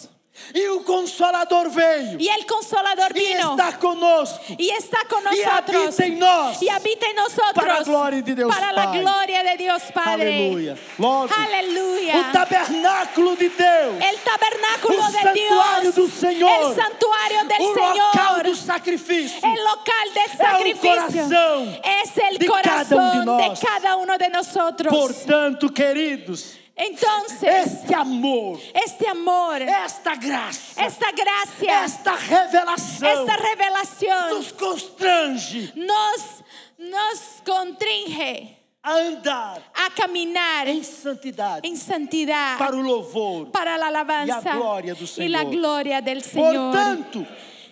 Speaker 2: E o Consolador veio
Speaker 3: Y el consolador
Speaker 2: e
Speaker 3: vino
Speaker 2: está conosco
Speaker 3: y está con
Speaker 2: y
Speaker 3: nosotros
Speaker 2: habita en nós.
Speaker 3: y habita en nosotros
Speaker 2: Para la gloria de Dios
Speaker 3: para la
Speaker 2: Padre.
Speaker 3: gloria de Dios Padre.
Speaker 2: Aleluia. Logo,
Speaker 3: Aleluya.
Speaker 2: o tabernáculo de Deus,
Speaker 3: El tabernáculo
Speaker 2: O
Speaker 3: de
Speaker 2: santuario
Speaker 3: Dios,
Speaker 2: do Señor.
Speaker 3: el santuario del
Speaker 2: o local
Speaker 3: Señor,
Speaker 2: do sacrifício.
Speaker 3: el local del sacrificio,
Speaker 2: corazón
Speaker 3: es el
Speaker 2: de cada
Speaker 3: corazón
Speaker 2: uno de
Speaker 3: de
Speaker 2: nós.
Speaker 3: cada uno de nosotros.
Speaker 2: Portanto, queridos,
Speaker 3: Entonces,
Speaker 2: este amor,
Speaker 3: este amor,
Speaker 2: esta graça,
Speaker 3: esta gracia,
Speaker 2: esta revelação
Speaker 3: esta revelación
Speaker 2: nos constrange
Speaker 3: nos, nos contringe
Speaker 2: a andar
Speaker 3: a caminar
Speaker 2: em santidade
Speaker 3: en santidad
Speaker 2: para o louvor
Speaker 3: para la alabanza
Speaker 2: Y la gloria del
Speaker 3: y la
Speaker 2: Señor.
Speaker 3: gloria del Señor.
Speaker 2: Portanto,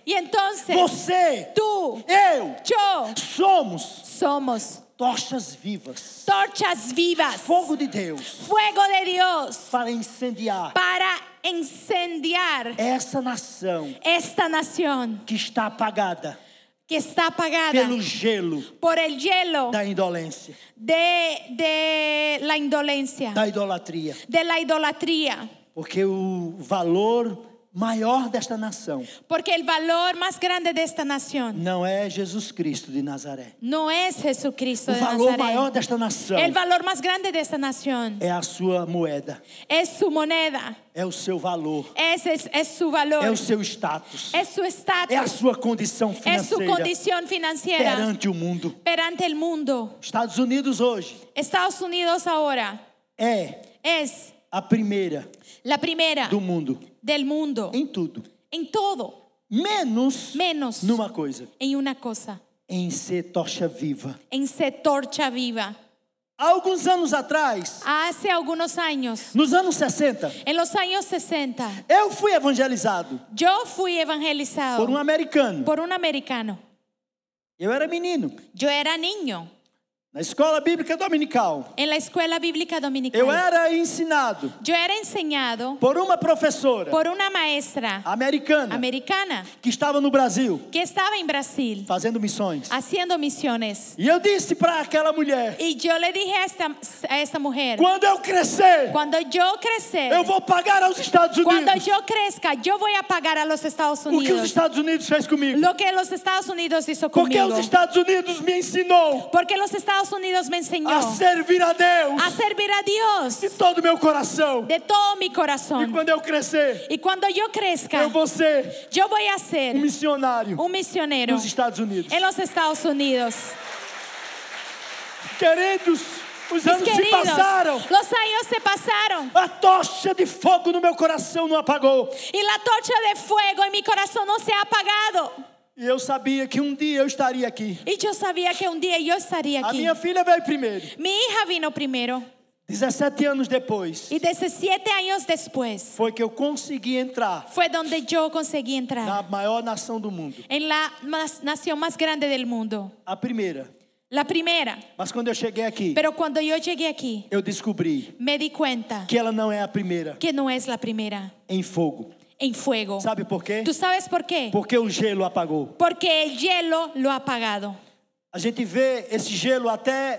Speaker 3: y entonces
Speaker 2: você,
Speaker 3: tú,
Speaker 2: eu,
Speaker 3: yo
Speaker 2: somos
Speaker 3: somos
Speaker 2: tochas vivas,
Speaker 3: torchas vivas,
Speaker 2: fogo de Deus,
Speaker 3: fuego de Dios
Speaker 2: para incendiar
Speaker 3: para incendiar
Speaker 2: essa nação
Speaker 3: esta nación
Speaker 2: que está apagada
Speaker 3: que está apagada
Speaker 2: pelo gelo
Speaker 3: por el hielo
Speaker 2: da indolência,
Speaker 3: de, de la indolencia,
Speaker 2: da idolatria.
Speaker 3: de la idolatría.
Speaker 2: Porque o valor maior desta nação
Speaker 3: Porque el valor más grande de esta nación
Speaker 2: não é Jesus Cristo de Nazaré.
Speaker 3: no es Jesucristo
Speaker 2: O
Speaker 3: de
Speaker 2: valor maior
Speaker 3: Nazaret.
Speaker 2: desta nação
Speaker 3: El valor más grande de esta nación
Speaker 2: é a sua moeda,
Speaker 3: es su moneda,
Speaker 2: é o seu valor,
Speaker 3: es, es, es su
Speaker 2: é
Speaker 3: valor,
Speaker 2: o seu status,
Speaker 3: es su
Speaker 2: é a
Speaker 3: estatus,
Speaker 2: É sua condição
Speaker 3: es su
Speaker 2: financeira
Speaker 3: condición financiera
Speaker 2: perante o mundo.
Speaker 3: perante el mundo.
Speaker 2: Estados Unidos hoje
Speaker 3: Estados Unidos ahora
Speaker 2: é
Speaker 3: es
Speaker 2: a primeira
Speaker 3: la primera
Speaker 2: do mundo
Speaker 3: del mundo
Speaker 2: em tudo,
Speaker 3: en todo,
Speaker 2: menos
Speaker 3: menos
Speaker 2: numa coisa,
Speaker 3: en una cosa,
Speaker 2: em ser tocha viva.
Speaker 3: en ser torcha viva.
Speaker 2: Há alguns anos atrás,
Speaker 3: Hace algunos años,
Speaker 2: nos anos 60,
Speaker 3: en los años 60,
Speaker 2: eu fui evangelizado
Speaker 3: yo fui evangelizado
Speaker 2: por um americano.
Speaker 3: por un americano.
Speaker 2: Eu era menino,
Speaker 3: Yo era niño
Speaker 2: na escola bíblica dominical.
Speaker 3: en la escuela bíblica dominical.
Speaker 2: Eu era ensinado
Speaker 3: Yo era enseñado
Speaker 2: por uma professora
Speaker 3: por una maestra
Speaker 2: americana
Speaker 3: americana
Speaker 2: que estava no Brasil
Speaker 3: que estaba en Brasil
Speaker 2: fazendo missões.
Speaker 3: haciendo misiones.
Speaker 2: E eu disse para aquela mulher:
Speaker 3: Y yo le dije a esta, a esta mujer,
Speaker 2: quando eu crescer,
Speaker 3: cuando yo crecer,
Speaker 2: eu vou pagar aos Estados
Speaker 3: cuando
Speaker 2: Unidos
Speaker 3: yo crezca, yo voy a pagar a los Estados
Speaker 2: o que os
Speaker 3: Unidos
Speaker 2: Estados Unidos fez comigo.
Speaker 3: lo que los Estados Unidos hizo
Speaker 2: Porque
Speaker 3: conmigo.
Speaker 2: os Estados Unidos me ensinou
Speaker 3: Porque los Estados Unidos me enseñó
Speaker 2: a servir a Deus
Speaker 3: a servir a Dios
Speaker 2: de todo o meu coração.
Speaker 3: de todo mi
Speaker 2: E
Speaker 3: corazón.
Speaker 2: quando eu crescer,
Speaker 3: Y cuando yo crezca,
Speaker 2: eu vou ser
Speaker 3: yo voy a ser
Speaker 2: um missionário
Speaker 3: un misionero
Speaker 2: nos Estados Unidos.
Speaker 3: en los Estados Unidos.
Speaker 2: Queridos, os
Speaker 3: É. Mis
Speaker 2: anos se
Speaker 3: queridos,
Speaker 2: passaram.
Speaker 3: los años se pasaron
Speaker 2: A tocha de fogo no meu coração não apagou.
Speaker 3: y la torcha de fuego en mi corazón no se ha apagado.
Speaker 2: E eu sabia que um dia eu estaria aqui.
Speaker 3: Y yo sabía que un día yo estaría
Speaker 2: A
Speaker 3: aquí.
Speaker 2: minha filha veio primeiro.
Speaker 3: Mi hija vino primero
Speaker 2: 17 anos depois,
Speaker 3: y 17 años después
Speaker 2: foi que eu consegui entrar
Speaker 3: fue donde yo conseguí entrar
Speaker 2: na maior nação do mundo.
Speaker 3: en la mas- nación más grande del mundo.
Speaker 2: A primeira.
Speaker 3: La primera.
Speaker 2: Mas quando eu cheguei aqui,
Speaker 3: Pero cuando yo llegué aquí,
Speaker 2: eu descobri
Speaker 3: me di cuenta
Speaker 2: que ela não é a primeira
Speaker 3: que no es la primera
Speaker 2: em fogo.
Speaker 3: en fuego.
Speaker 2: Sabe por quê?
Speaker 3: ¿Tú sabes por qué?
Speaker 2: Porque o gelo apagou.
Speaker 3: Porque el hielo lo ha apagado.
Speaker 2: A gente vê esse gelo até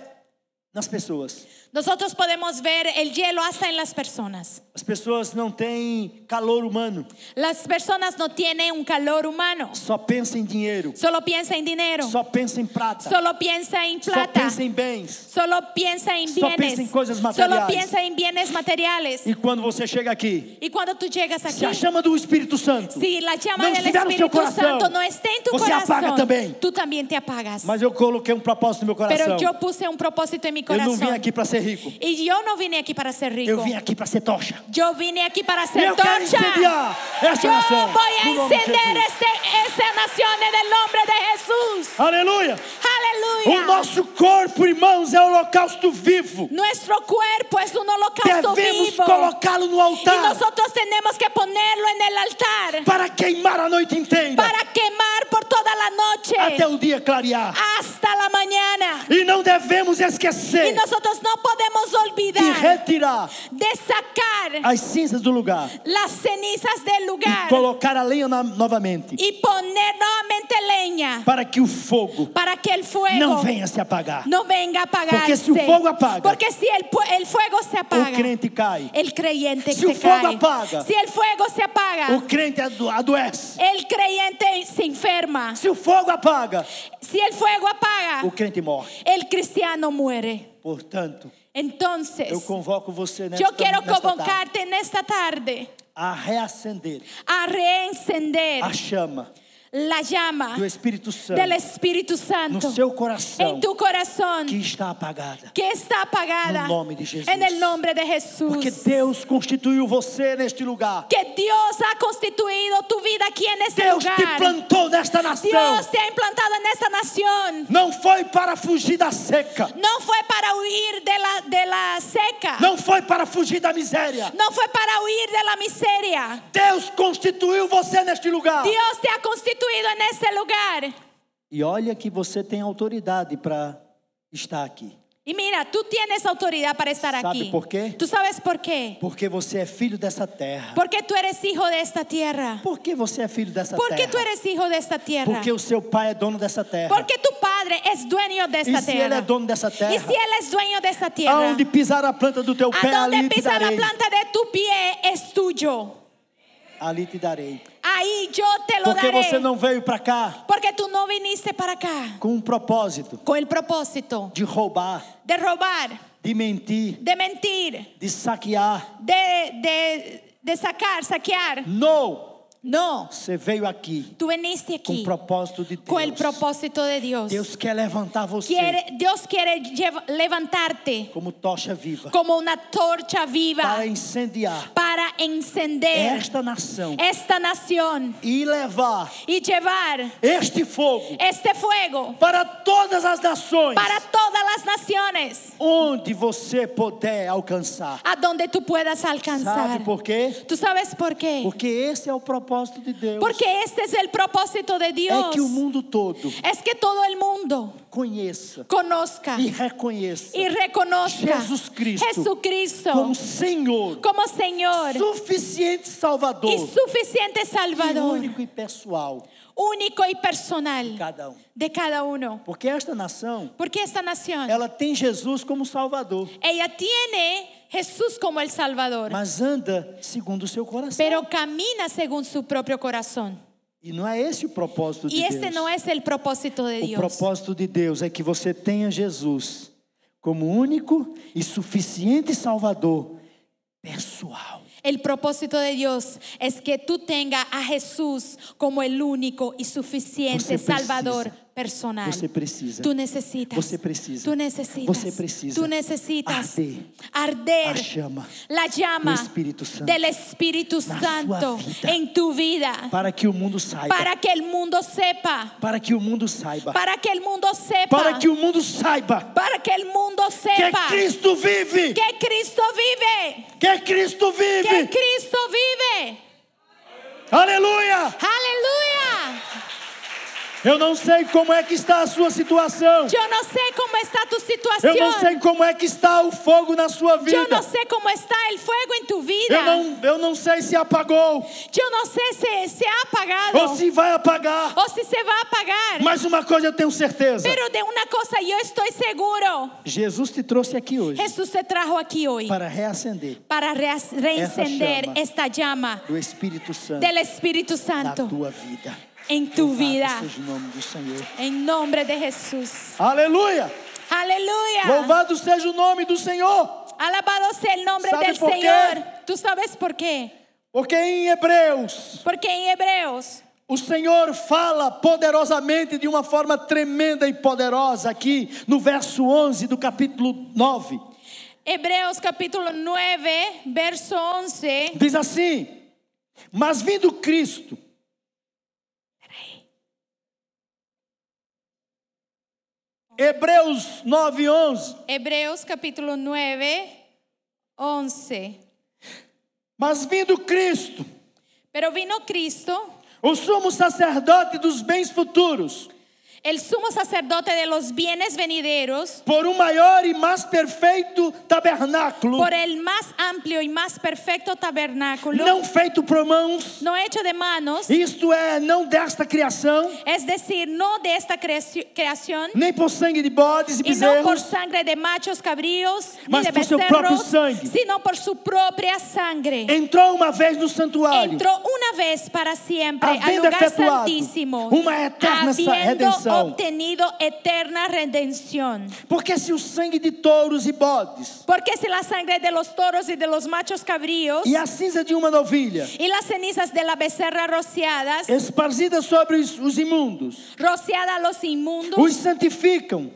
Speaker 2: nas pessoas.
Speaker 3: Nosotros podemos ver el hielo hasta en las personas.
Speaker 2: As pessoas não têm calor humano,
Speaker 3: Las personas no tienen un calor humano.
Speaker 2: só pensa em dinheiro,
Speaker 3: Solo piensa en dinero.
Speaker 2: só pensa em prata,
Speaker 3: Solo piensa en
Speaker 2: só
Speaker 3: plata.
Speaker 2: pensa em bens.
Speaker 3: Solo piensa en
Speaker 2: Só
Speaker 3: bienes.
Speaker 2: piensa en cosas
Speaker 3: Solo
Speaker 2: materiales.
Speaker 3: piensa en bienes materiales.
Speaker 2: E quando você chega aqui,
Speaker 3: Y cuando tú llegas
Speaker 2: se a
Speaker 3: aquí,
Speaker 2: chama do Espírito Santo.
Speaker 3: si la llama
Speaker 2: não
Speaker 3: del
Speaker 2: estiver no seu
Speaker 3: Espíritu
Speaker 2: coração,
Speaker 3: Santo no está en tu
Speaker 2: você apaga
Speaker 3: corazón,
Speaker 2: também.
Speaker 3: tú también te apagas.
Speaker 2: Mas eu coloquei um propósito no meu coração.
Speaker 3: Pero yo puse un propósito en mi mi
Speaker 2: Eu não
Speaker 3: corazón.
Speaker 2: vim aqui para ser rico.
Speaker 3: Y yo no vine aquí para ser rico.
Speaker 2: Eu vim aqui para ser tocha.
Speaker 3: Yo vine aquí para
Speaker 2: E
Speaker 3: ser
Speaker 2: eu quero
Speaker 3: tocha.
Speaker 2: incendiar essa
Speaker 3: Yo
Speaker 2: nação.
Speaker 3: voy a
Speaker 2: no nome de
Speaker 3: encender
Speaker 2: Jesus.
Speaker 3: este, esta nación en el nombre de Jesús.
Speaker 2: Aleluia. O
Speaker 3: Aleluya.
Speaker 2: nosso corpo, irmãos, é holocausto vivo.
Speaker 3: Nuestro cuerpo es un holocausto
Speaker 2: Devemos
Speaker 3: vivo.
Speaker 2: colocá-lo no
Speaker 3: Y
Speaker 2: altar
Speaker 3: nosotros tenemos que ponerlo en el altar
Speaker 2: para queimar a noite inteira
Speaker 3: para quemar por toda la noche
Speaker 2: até o dia clarear.
Speaker 3: hasta la mañana.
Speaker 2: E não devemos
Speaker 3: Y
Speaker 2: esquecer
Speaker 3: nosotros no podemos
Speaker 2: de
Speaker 3: olvidar
Speaker 2: retirar
Speaker 3: de sacar
Speaker 2: as cinzas do lugar
Speaker 3: las cenizas del
Speaker 2: e
Speaker 3: lugar
Speaker 2: colocar a lenha na- novamente
Speaker 3: y poner nuevamente leña
Speaker 2: para que o fogo
Speaker 3: para que el
Speaker 2: não
Speaker 3: fuego
Speaker 2: venha se apagar.
Speaker 3: no venga a apagarse.
Speaker 2: Porque si el fuego apaga-
Speaker 3: Porque si el, pu- el fuego se
Speaker 2: O
Speaker 3: apaga,
Speaker 2: crente cai,
Speaker 3: el creyente
Speaker 2: Si
Speaker 3: se
Speaker 2: el fuego
Speaker 3: cae.
Speaker 2: apaga-
Speaker 3: si el fuego se apaga,
Speaker 2: o crente ado- adoece.
Speaker 3: el creyente se enferma.
Speaker 2: Se o fogo apaga,
Speaker 3: Si el fuego apaga,
Speaker 2: o crente morre.
Speaker 3: el cristiano muere.
Speaker 2: Portanto,
Speaker 3: Entonces,
Speaker 2: eu convoco você nesta,
Speaker 3: yo quiero
Speaker 2: nesta tarde
Speaker 3: convocarte en esta tarde
Speaker 2: a reacender
Speaker 3: a reencender
Speaker 2: a chama
Speaker 3: la llama
Speaker 2: do Espírito Santo
Speaker 3: del Espíritu Ah. Santo
Speaker 2: no seu coração
Speaker 3: en tu corazón
Speaker 2: que está apagada.
Speaker 3: que está apagada
Speaker 2: No nome de Jesús.
Speaker 3: en el nombre de Jesús.
Speaker 2: Porque Deus constituiu você neste lugar.
Speaker 3: que Dios ha constituido tu vida aquí en este
Speaker 2: Deus te
Speaker 3: lugar.
Speaker 2: plantou nesta nação.
Speaker 3: Dios te ha implantado en esta nación.
Speaker 2: Não foi para fugir da seca.
Speaker 3: No fue para huir de la, de la seca.
Speaker 2: Não foi para fugir da miséria.
Speaker 3: No fue para huir de la miseria.
Speaker 2: Deus constituiu você neste lugar.
Speaker 3: Dios te ha constituido en este lugar.
Speaker 2: E olha que você tem autoridade para estar aqui.
Speaker 3: Y mira, tú tienes autoridad para estar
Speaker 2: ¿Sabe
Speaker 3: aquí.
Speaker 2: por qué?
Speaker 3: ¿Tú sabes por qué?
Speaker 2: Porque você é filho dessa terra.
Speaker 3: Porque tú eres hijo de esta tierra.
Speaker 2: Porque você é filho dessa
Speaker 3: Porque
Speaker 2: terra.
Speaker 3: tú eres hijo de esta tierra.
Speaker 2: Porque o seu pai é dono dessa terra.
Speaker 3: Porque tu padre es dueño de
Speaker 2: e
Speaker 3: esta
Speaker 2: se ele é
Speaker 3: tierra.
Speaker 2: dono dessa
Speaker 3: Y
Speaker 2: terra,
Speaker 3: si él es dueño de esta tierra,
Speaker 2: aonde pisar a planta do teu
Speaker 3: a
Speaker 2: pé, ali
Speaker 3: donde
Speaker 2: te
Speaker 3: pisa la
Speaker 2: darei.
Speaker 3: planta de tu pie es tuyo.
Speaker 2: Ali te darei.
Speaker 3: Ahí yo te lo
Speaker 2: Porque
Speaker 3: daré.
Speaker 2: você não veio para cá
Speaker 3: Porque tú no viniste para acá
Speaker 2: com um propósito
Speaker 3: con el propósito
Speaker 2: de roubar,
Speaker 3: de robar,
Speaker 2: de mentir,
Speaker 3: de mentir,
Speaker 2: de saquear.
Speaker 3: de, de, de sacar, saquear.
Speaker 2: Não!
Speaker 3: No,
Speaker 2: Você veio aqui
Speaker 3: tú viniste
Speaker 2: com o
Speaker 3: aquí
Speaker 2: propósito de Deus.
Speaker 3: con el propósito de Dios.
Speaker 2: Deus quer levantar você
Speaker 3: Quiere- Dios quiere llev- levantarte
Speaker 2: como tocha viva
Speaker 3: como una torcha viva
Speaker 2: para incendiar
Speaker 3: para encender
Speaker 2: esta nação
Speaker 3: esta nación
Speaker 2: e levar
Speaker 3: y llevar
Speaker 2: este fogo
Speaker 3: este fuego
Speaker 2: para todas as nações
Speaker 3: para todas las naciones
Speaker 2: onde você puder alcançar.
Speaker 3: a donde tú puedas alcanzar.
Speaker 2: Sabe por quê?
Speaker 3: ¿Tú sabes por qué?
Speaker 2: Porque esse é o propósito de Deus.
Speaker 3: Porque este es el propósito de Dios.
Speaker 2: É que o mundo todo
Speaker 3: Es que todo el mundo
Speaker 2: conheça
Speaker 3: conozca
Speaker 2: e reconheça
Speaker 3: y reconozca
Speaker 2: Jesus Cristo
Speaker 3: Jesucristo
Speaker 2: como Senhor,
Speaker 3: como Señor
Speaker 2: suficiente Salvador,
Speaker 3: y suficiente
Speaker 2: e
Speaker 3: Salvador,
Speaker 2: único e pessoal,
Speaker 3: único y personal
Speaker 2: cada um.
Speaker 3: de cada uno.
Speaker 2: Porque esta nação,
Speaker 3: Porque esta nación,
Speaker 2: ela tem Jesus como Salvador,
Speaker 3: ella tiene Jesús como el Salvador,
Speaker 2: mas anda segundo o seu coração.
Speaker 3: pero camina según su propio corazón.
Speaker 2: E não é esse o propósito de
Speaker 3: Y este
Speaker 2: Deus.
Speaker 3: no es el propósito de
Speaker 2: O
Speaker 3: Dios.
Speaker 2: propósito de Deus é que você tenha Jesus como único e suficiente Salvador pessoal.
Speaker 3: El propósito de Dios es que tú tengas a Jesús como el único y
Speaker 2: Você
Speaker 3: suficiente
Speaker 2: precisa.
Speaker 3: Salvador personal.
Speaker 2: Você precisa.
Speaker 3: Tú necesitas.
Speaker 2: Você precisa.
Speaker 3: Tú necesitas.
Speaker 2: Você precisa.
Speaker 3: Tú necesitas.
Speaker 2: Arder.
Speaker 3: Arder
Speaker 2: A chama
Speaker 3: la llama
Speaker 2: do Espírito Santo
Speaker 3: del Espíritu
Speaker 2: na sua
Speaker 3: Santo
Speaker 2: vida.
Speaker 3: en tu vida
Speaker 2: para que o mundo saiba.
Speaker 3: para que el mundo sepa.
Speaker 2: Para que o mundo saiba.
Speaker 3: Para que el mundo sepa.
Speaker 2: Para que o mundo saiba
Speaker 3: para que el mundo
Speaker 2: que
Speaker 3: sepa
Speaker 2: Cristo vive.
Speaker 3: que Cristo vive.
Speaker 2: Que Cristo
Speaker 3: Que
Speaker 2: vive.
Speaker 3: Cristo vive.
Speaker 2: Aleluia!
Speaker 3: Aleluya.
Speaker 2: Eu não sei como é que está a sua situação.
Speaker 3: Yo no sé cómo está tu
Speaker 2: Eu não
Speaker 3: situación.
Speaker 2: sei como é que está o fogo na sua
Speaker 3: Yo no
Speaker 2: vida.
Speaker 3: sé cómo está el fuego en tu
Speaker 2: Eu
Speaker 3: vida.
Speaker 2: não, eu não sei se apagou
Speaker 3: Yo no sé si se ha apagado
Speaker 2: ou se vai apagar.
Speaker 3: o si se va a apagar.
Speaker 2: Mas uma coisa eu tenho certeza.
Speaker 3: Pero de una cosa yo estoy seguro.
Speaker 2: Jesus te trouxe aqui hoje
Speaker 3: Jesús se trajo aquí hoy
Speaker 2: para reacender
Speaker 3: para re- reencender
Speaker 2: llama.
Speaker 3: esta llama
Speaker 2: o Espírito Santo
Speaker 3: del Espíritu
Speaker 2: na
Speaker 3: Santo
Speaker 2: tua vida.
Speaker 3: en tu vida.
Speaker 2: Louvado seja o nome do Senhor.
Speaker 3: En nombre de Jesús.
Speaker 2: Aleluia!
Speaker 3: Aleluya.
Speaker 2: Louvado seja o nome do Senhor.
Speaker 3: Alabado sea el nombre
Speaker 2: ¿Sabe
Speaker 3: del
Speaker 2: por qué?
Speaker 3: Señor. ¿Tú sabes por qué?
Speaker 2: Porque em Hebreus,
Speaker 3: Porque en Hebreos
Speaker 2: O Senhor fala poderosamente, de uma forma tremenda e poderosa, aqui no verso 11 do capítulo 9.
Speaker 3: Hebreos capítulo 9, verso 11.
Speaker 2: Diz assim: Mas vindo Cristo, Hebreus 9, 11.
Speaker 3: Hebreos capítulo 9, 11.
Speaker 2: Mas vindo Cristo,
Speaker 3: Pero vino Cristo,
Speaker 2: o sumo sacerdote dos bens futuros,
Speaker 3: el sumo sacerdote de los bienes venideros,
Speaker 2: por um maior e mais perfeito tabernáculo,
Speaker 3: por el más amplio y más perfecto tabernáculo,
Speaker 2: não feito por mãos,
Speaker 3: no hecho de manos,
Speaker 2: isto é, não desta criação,
Speaker 3: es decir, no de esta creaci- creación,
Speaker 2: nem por sangue de bodes e
Speaker 3: y no por
Speaker 2: bezerros,
Speaker 3: sangre de machos cabríos, ni
Speaker 2: Mas
Speaker 3: de
Speaker 2: por seu próprio
Speaker 3: becerros,
Speaker 2: sangue.
Speaker 3: sino por su propia sangre.
Speaker 2: entrou uma vez no santuário,
Speaker 3: entró una vez para siempre al
Speaker 2: Habiendo
Speaker 3: lugar
Speaker 2: efectuado
Speaker 3: santísimo,
Speaker 2: una eterna sa-
Speaker 3: habiendo
Speaker 2: redención.
Speaker 3: obtenido eterna redención.
Speaker 2: porque se o sangue de touros e bodes,
Speaker 3: Porque si la sangre de los toros y de los machos cabríos
Speaker 2: e a cinza de uma novilha,
Speaker 3: y las cenizas de la becerra rociadas,
Speaker 2: Eh, esparzidas sobre os, os imundos,
Speaker 3: rociada a los inmundos,
Speaker 2: os santificam,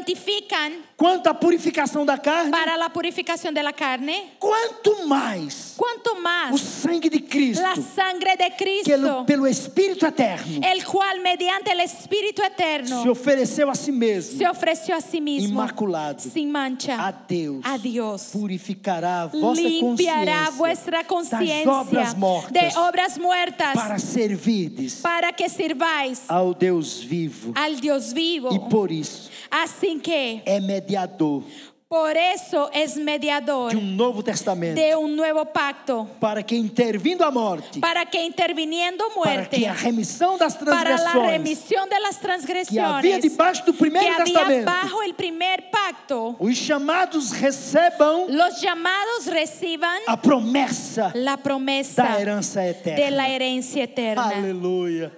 Speaker 3: santifican
Speaker 2: quanto à purificação da carne,
Speaker 3: para la purificación de la carne,
Speaker 2: quanto mais
Speaker 3: cuanto más
Speaker 2: o sangue de Cristo,
Speaker 3: la sangre de
Speaker 2: que ele,
Speaker 3: Cristo,
Speaker 2: pelo Espírito Eterno,
Speaker 3: el cual mediante el Espíritu Eterno
Speaker 2: se ofereceu a si mesmo,
Speaker 3: se ofreció a sí mismo
Speaker 2: Inmaculado.
Speaker 3: sin mancha
Speaker 2: a Deus,
Speaker 3: a Dios.
Speaker 2: purificará a vossa
Speaker 3: limpiará
Speaker 2: consciência
Speaker 3: vuestra
Speaker 2: das
Speaker 3: conciencia
Speaker 2: obras mortas
Speaker 3: de obras muertas
Speaker 2: para servirdes
Speaker 3: para que sirváis
Speaker 2: ao Deus vivo.
Speaker 3: al Dios vivo.
Speaker 2: E por isso
Speaker 3: Así que
Speaker 2: é mediador
Speaker 3: por eso es
Speaker 2: de
Speaker 3: mediador
Speaker 2: um novo testamento,
Speaker 3: de un nuevo pacto
Speaker 2: para que intervindo a morte,
Speaker 3: para que interviniendo
Speaker 2: para que
Speaker 3: muerte
Speaker 2: a remissão das
Speaker 3: para la
Speaker 2: transgressões
Speaker 3: remisión de las
Speaker 2: que havia
Speaker 3: transgresiones
Speaker 2: debaixo do
Speaker 3: que
Speaker 2: primeiro
Speaker 3: había
Speaker 2: testamento,
Speaker 3: bajo el primer pacto,
Speaker 2: os chamados recebam
Speaker 3: los llamados reciban
Speaker 2: a promessa
Speaker 3: la promesa
Speaker 2: Ah, da herança
Speaker 3: de
Speaker 2: eterna.
Speaker 3: la herencia eterna.
Speaker 2: Aleluia.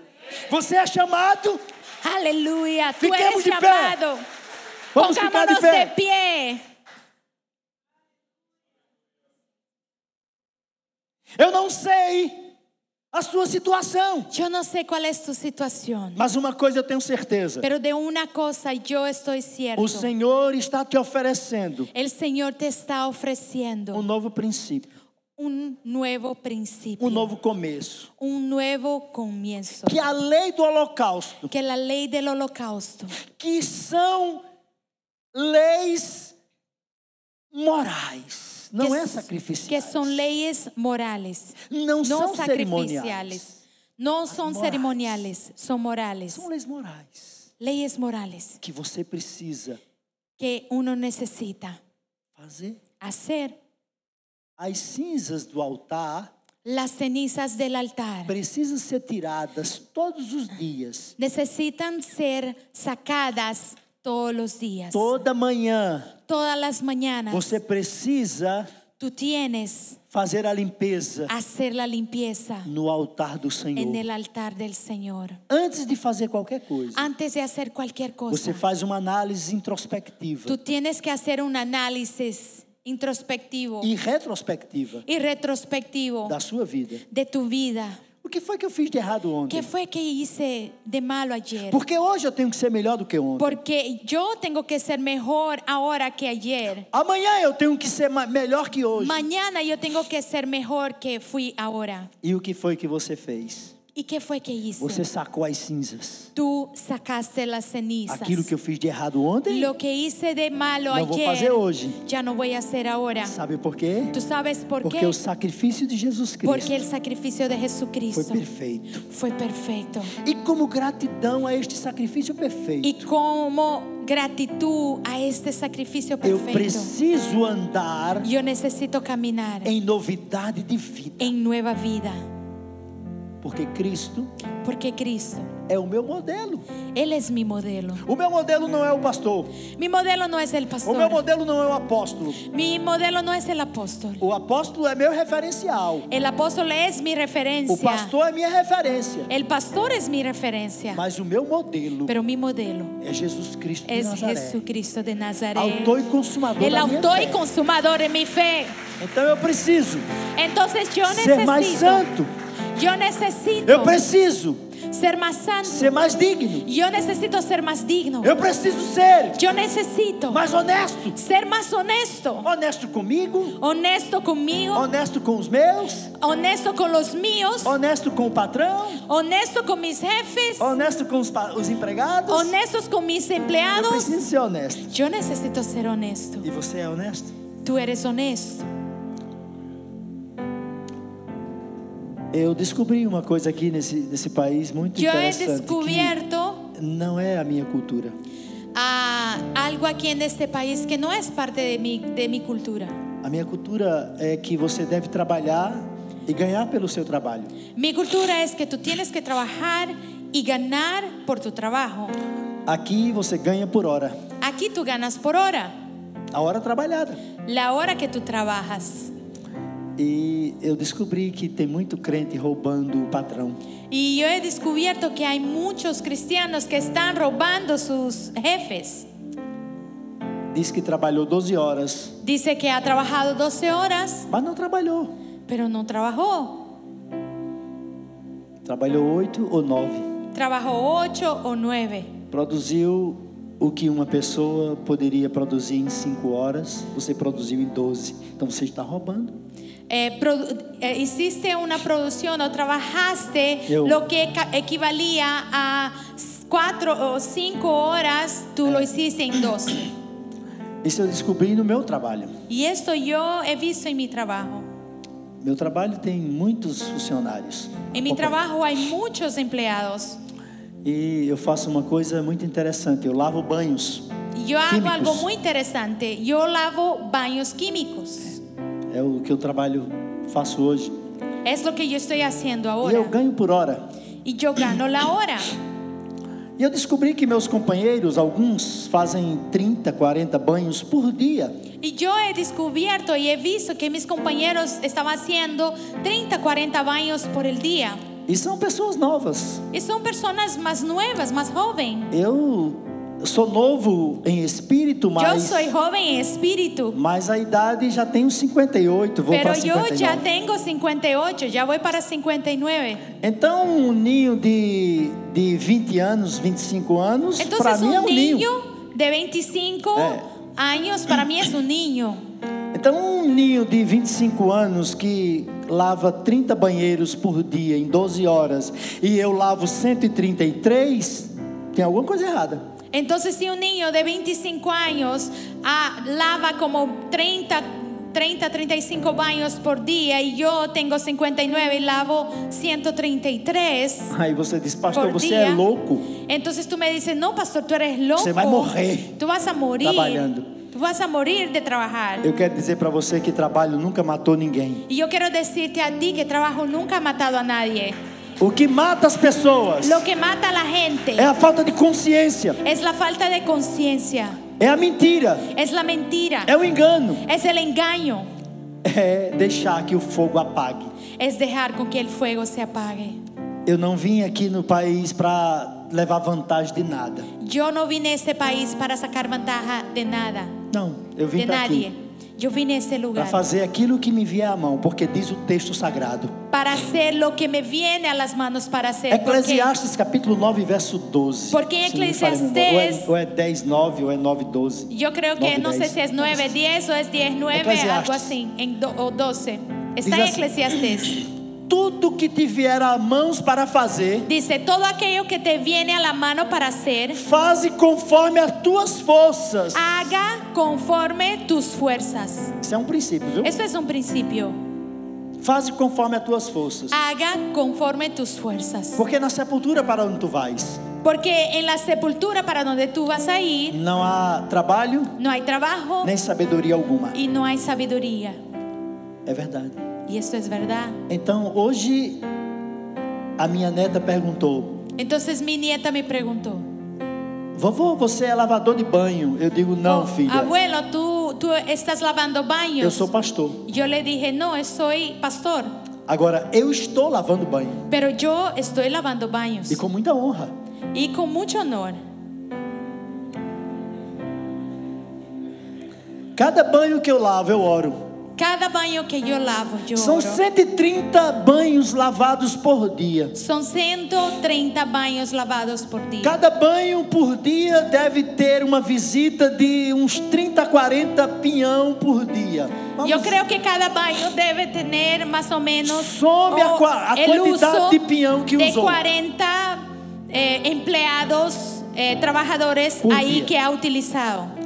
Speaker 2: Você é chamado,
Speaker 3: Aleluya, tú
Speaker 2: Fiquemos
Speaker 3: eres
Speaker 2: de pé.
Speaker 3: llamado.
Speaker 2: vamos ficar de
Speaker 3: Pongámonos
Speaker 2: pé.
Speaker 3: de pie.
Speaker 2: Eu não sei a sua situação,
Speaker 3: Yo no sé cuál es tu situación,
Speaker 2: mas uma coisa eu tenho certeza:
Speaker 3: pero de una cosa yo estoy cierto.
Speaker 2: o Senhor está te oferecendo
Speaker 3: El Señor te está
Speaker 2: um
Speaker 3: ofreciendo
Speaker 2: novo princípio,
Speaker 3: un nuevo principio,
Speaker 2: um novo começo.
Speaker 3: un nuevo comienzo.
Speaker 2: Que a lei do holocausto,
Speaker 3: Que la ley del holocausto,
Speaker 2: que são leis morais, não
Speaker 3: que,
Speaker 2: é
Speaker 3: s-
Speaker 2: sacrificiais.
Speaker 3: que son leyes morales,
Speaker 2: não,
Speaker 3: no
Speaker 2: são cerimoniais.
Speaker 3: sacrificiales, no son
Speaker 2: morales.
Speaker 3: ceremoniales, son morales.
Speaker 2: São leis morais
Speaker 3: Leyes morales
Speaker 2: que você precisa
Speaker 3: que uno necesita
Speaker 2: fazer.
Speaker 3: hacer
Speaker 2: As cinzas do altar
Speaker 3: las cenizas del altar.
Speaker 2: precisam ser tiradas todos os dias,
Speaker 3: necesitan ser sacadas todos los días.
Speaker 2: toda manhã.
Speaker 3: Todas las mañanas
Speaker 2: Você precisa
Speaker 3: tú tienes
Speaker 2: fazer a limpeza
Speaker 3: hacer la limpieza
Speaker 2: no altar do Senhor.
Speaker 3: en el altar del Señor.
Speaker 2: Antes de fazer qualquer coisa,
Speaker 3: Antes de hacer cualquier
Speaker 2: você
Speaker 3: cosa,
Speaker 2: faz uma análise introspectiva
Speaker 3: tú tienes que hacer un análisis introspectivo
Speaker 2: e retrospectiva
Speaker 3: y retrospectivo
Speaker 2: da sua vida.
Speaker 3: de tu vida.
Speaker 2: O que foi que eu fiz de errado ontem?
Speaker 3: ¿Qué fue que hice de malo ayer?
Speaker 2: Porque hoje eu tenho que ser melhor do que ontem.
Speaker 3: Porque yo tengo que ser mejor ahora que ayer.
Speaker 2: Amanhã eu tenho que ser ma- melhor que hoje.
Speaker 3: Mañana yo tengo que ser mejor que fui ahora.
Speaker 2: E o que foi que você fez?
Speaker 3: ¿Y qué fue que hice?
Speaker 2: Você sacou as cinzas.
Speaker 3: Tú sacaste las cenizas.
Speaker 2: Aquilo que eu fiz de errado ontem,
Speaker 3: Lo que hice de malo
Speaker 2: não vou
Speaker 3: ayer,
Speaker 2: fazer hoje.
Speaker 3: ya no voy a hacer ahora.
Speaker 2: Sabe por quê?
Speaker 3: ¿Tú sabes por
Speaker 2: Porque
Speaker 3: qué?
Speaker 2: o sacrifício de Jesus
Speaker 3: Porque
Speaker 2: Cristo
Speaker 3: el sacrificio de
Speaker 2: foi
Speaker 3: Jesucristo
Speaker 2: perfeito.
Speaker 3: fue perfecto.
Speaker 2: E como gratidão a este sacrifício perfeito,
Speaker 3: Y como gratitud a este sacrificio
Speaker 2: eu
Speaker 3: perfecto,
Speaker 2: preciso andar
Speaker 3: yo necesito caminar
Speaker 2: em novidade de vida.
Speaker 3: en nueva vida.
Speaker 2: Porque Cristo
Speaker 3: Porque Cristo,
Speaker 2: é o meu modelo.
Speaker 3: Él es mi modelo.
Speaker 2: O meu modelo não é o pastor.
Speaker 3: Mi modelo no es el
Speaker 2: O meu
Speaker 3: pastor.
Speaker 2: modelo não é o apóstolo.
Speaker 3: Mi modelo no es el apóstol.
Speaker 2: O apóstolo é meu referencial.
Speaker 3: El apóstol es mi
Speaker 2: O
Speaker 3: referencia.
Speaker 2: pastor é minha referência.
Speaker 3: El pastor es mi referencia.
Speaker 2: Mas o meu modelo
Speaker 3: Pero mi modelo
Speaker 2: é Jesus Cristo de
Speaker 3: es
Speaker 2: Nazaré.
Speaker 3: Jesucristo de Nazaret.
Speaker 2: Autor e consumador
Speaker 3: El
Speaker 2: da minha
Speaker 3: autor y
Speaker 2: fé.
Speaker 3: consumador de mi fe.
Speaker 2: Então eu preciso
Speaker 3: Entonces yo
Speaker 2: ser mais
Speaker 3: necesito.
Speaker 2: santo.
Speaker 3: Yo necesito.
Speaker 2: Eu preciso
Speaker 3: ser más santo.
Speaker 2: ser mais digno.
Speaker 3: Yo necesito ser más digno.
Speaker 2: Eu preciso ser
Speaker 3: Yo necesito
Speaker 2: mais honesto.
Speaker 3: ser más honesto.
Speaker 2: Honesto comigo,
Speaker 3: Honesto conmigo,
Speaker 2: honesto com os meus,
Speaker 3: honesto con los míos,
Speaker 2: honesto com o patrão,
Speaker 3: honesto con mis jefes,
Speaker 2: honesto com os, pa- os empregados.
Speaker 3: honestos con mis
Speaker 2: Eu
Speaker 3: empleados.
Speaker 2: preciso ser honesto.
Speaker 3: Yo necesito ser honesto.
Speaker 2: E você é honesto?
Speaker 3: Tú eres honesto.
Speaker 2: Eu descobri uma coisa aqui nesse, nesse país muito
Speaker 3: Yo he
Speaker 2: interessante. que
Speaker 3: descubierto
Speaker 2: não é a minha cultura.
Speaker 3: ah, algo aquí en este país que no es parte de mi, de mi cultura.
Speaker 2: A minha cultura é que você deve trabalhar e ganhar pelo seu trabalho.
Speaker 3: Mi cultura es que tú tienes que trabajar y ganar por tu trabajo.
Speaker 2: Aqui você ganha por hora,
Speaker 3: Aquí tú ganas por hora,
Speaker 2: a hora trabalhada.
Speaker 3: la hora que tú trabajas.
Speaker 2: E eu descobri que tem muito crente roubando o patrão.
Speaker 3: Y yo he descubierto que hay muchos cristianos que están robando sus jefes.
Speaker 2: Diz que trabalhou 12 horas,
Speaker 3: Dice que ha trabajado 12 horas,
Speaker 2: mas não trabalhou.
Speaker 3: pero no trabajó.
Speaker 2: Trabalhou 8 ou 9.
Speaker 3: Trabajó 8 o 9.
Speaker 2: Produziu o que uma pessoa poderia produzir em 5 horas, você produziu em 12. Então você está roubando.
Speaker 3: Eh, produ- eh, hiciste una producción o trabajaste
Speaker 2: Yo.
Speaker 3: lo que ca- equivalía a 4 o 5 horas, tú lo hiciste en 2.
Speaker 2: Isso eu descobri no meu trabalho.
Speaker 3: Y esto yo he visto en mi trabajo.
Speaker 2: Meu trabalho tem muitos funcionários.
Speaker 3: En mi trabajo hay muchos empleados.
Speaker 2: E eu faço uma coisa muito interessante, eu lavo banhos.
Speaker 3: Yo hago
Speaker 2: Químicos.
Speaker 3: algo muy interesante. Yo lavo baños químicos.
Speaker 2: É o que eu trabalho, faço hoje.
Speaker 3: Es lo que yo estoy haciendo
Speaker 2: E eu
Speaker 3: ahora.
Speaker 2: ganho por hora.
Speaker 3: Y yo gano la hora.
Speaker 2: E eu descobri que meus companheiros, alguns fazem 30, 40 banhos por dia.
Speaker 3: Y yo he descubierto y he visto que mis compañeros estaban haciendo 30, 40 baños por el día.
Speaker 2: E são pessoas novas.
Speaker 3: Y son personas más nuevas, más jóvenes.
Speaker 2: Eu sou novo em espírito,
Speaker 3: Yo
Speaker 2: mas,
Speaker 3: soy joven en espíritu,
Speaker 2: mas a idade já tenho 58, vou
Speaker 3: pero
Speaker 2: para
Speaker 3: yo
Speaker 2: 59.
Speaker 3: ya tengo 58, ya voy para 59.
Speaker 2: Então, um ninho de, de 20 anos, 25 anos, para
Speaker 3: Entonces
Speaker 2: mim é
Speaker 3: un
Speaker 2: um ninho.
Speaker 3: niño de 25
Speaker 2: Eh.
Speaker 3: años para mí es un niño.
Speaker 2: Então, um ninho de 25 anos que lava 30 banheiros por dia em 12 horas e eu lavo 133, tem alguma coisa errada.
Speaker 3: Entonces si un niño de 25 años ah, lava como 30, 30, 35 baños por día y yo tengo 59 y lavo 133.
Speaker 2: Aí você diz, pastor,
Speaker 3: por
Speaker 2: você
Speaker 3: día,
Speaker 2: é louco.
Speaker 3: Entonces tú me dices, no, pastor, tú eres loco.
Speaker 2: Você vai morrer
Speaker 3: Tú vas a morir.
Speaker 2: trabalhando."
Speaker 3: Tú vas a morir de trabajar.
Speaker 2: Eu quero dizer para você que trabalho nunca matou ninguém.
Speaker 3: Y yo quiero decirte a ti que trabajo nunca ha matado a nadie.
Speaker 2: O que mata as pessoas
Speaker 3: Lo que mata a la gente
Speaker 2: é a falta de consciência,
Speaker 3: es la falta de conciencia,
Speaker 2: é a mentira,
Speaker 3: es la mentira,
Speaker 2: é o engano,
Speaker 3: es el engaño,
Speaker 2: é deixar que o fogo apague.
Speaker 3: es dejar con que el fuego se apague.
Speaker 2: Eu não vim aqui no país para levar vantagem de nada.
Speaker 3: Yo no vine a este país para sacar ventaja de nada,
Speaker 2: Não, eu vim
Speaker 3: de
Speaker 2: para
Speaker 3: nadie.
Speaker 2: aqui
Speaker 3: Yo vine a este
Speaker 2: para
Speaker 3: lugar
Speaker 2: fazer aquilo que me vier à mão, porque diz o texto sagrado.
Speaker 3: para hacer lo que me viene a las manos para hacer. Porque
Speaker 2: Eclesiastes capítulo 9, verso 12.
Speaker 3: Porque em
Speaker 2: Se não me falha a
Speaker 3: Eclesiastes-
Speaker 2: memória. Ou é, ou é 10, 9, ou é 9, 12.
Speaker 3: Yo creo que
Speaker 2: Nueve,
Speaker 3: no sé
Speaker 2: diez.
Speaker 3: si es 9, 10 o es 10, 9,
Speaker 2: Eclesiastes.
Speaker 3: algo así, en do- o 12. Está
Speaker 2: Dice
Speaker 3: en
Speaker 2: así.
Speaker 3: Eclesiastes.
Speaker 2: Tudo que te vier a mãos para fazer,
Speaker 3: Dice, todo aquello que te viene a la mano para hacer,
Speaker 2: Faze conforme as tuas forças.
Speaker 3: Ah. haga conforme tus fuerzas.
Speaker 2: Isso é um princípio, viu?
Speaker 3: Eso es un principio.
Speaker 2: Faze conforme as tuas forças.
Speaker 3: Ah. Haga conforme tus fuerzas.
Speaker 2: Porque na sepultura para onde tu vais,
Speaker 3: Porque en la sepultura para donde tú vas a ir,
Speaker 2: não há trabalho
Speaker 3: no hay trabajo
Speaker 2: nem sabedoria alguma.
Speaker 3: y no hay sabiduría.
Speaker 2: É verdade.
Speaker 3: Y esto es verdad.
Speaker 2: Então, hoje, a minha neta perguntou:
Speaker 3: Entonces mi nieta me preguntó,
Speaker 2: Vovô, você é lavador de banho? Eu digo: Não,
Speaker 3: "Oh,
Speaker 2: filha.
Speaker 3: abuelo, ¿tú, tú estás lavando baños.
Speaker 2: Eu sou pastor.
Speaker 3: Yo le dije, no, soy pastor,
Speaker 2: Agora, eu estou lavando banho.
Speaker 3: pero yo estoy lavando baños.
Speaker 2: E com muita honra.
Speaker 3: Y con mucho honor.
Speaker 2: Cada banho que eu lavo, eu oro.
Speaker 3: Cada banho que yo lavo, yo
Speaker 2: São
Speaker 3: oro.
Speaker 2: 130 banhos lavados por dia.
Speaker 3: Son 130 baños lavados por día.
Speaker 2: Cada banho por dia deve ter uma visita de uns 30 a 40 pinhão por dia. Vamos-
Speaker 3: Yo creo que cada baño debe tener más o menos
Speaker 2: Some a cua- a
Speaker 3: el
Speaker 2: quantidade
Speaker 3: uso
Speaker 2: de pinhão que
Speaker 3: de
Speaker 2: usou.
Speaker 3: 40 eh, empleados, eh, trabajadores
Speaker 2: Por
Speaker 3: ahí
Speaker 2: día.
Speaker 3: que ha utilizado.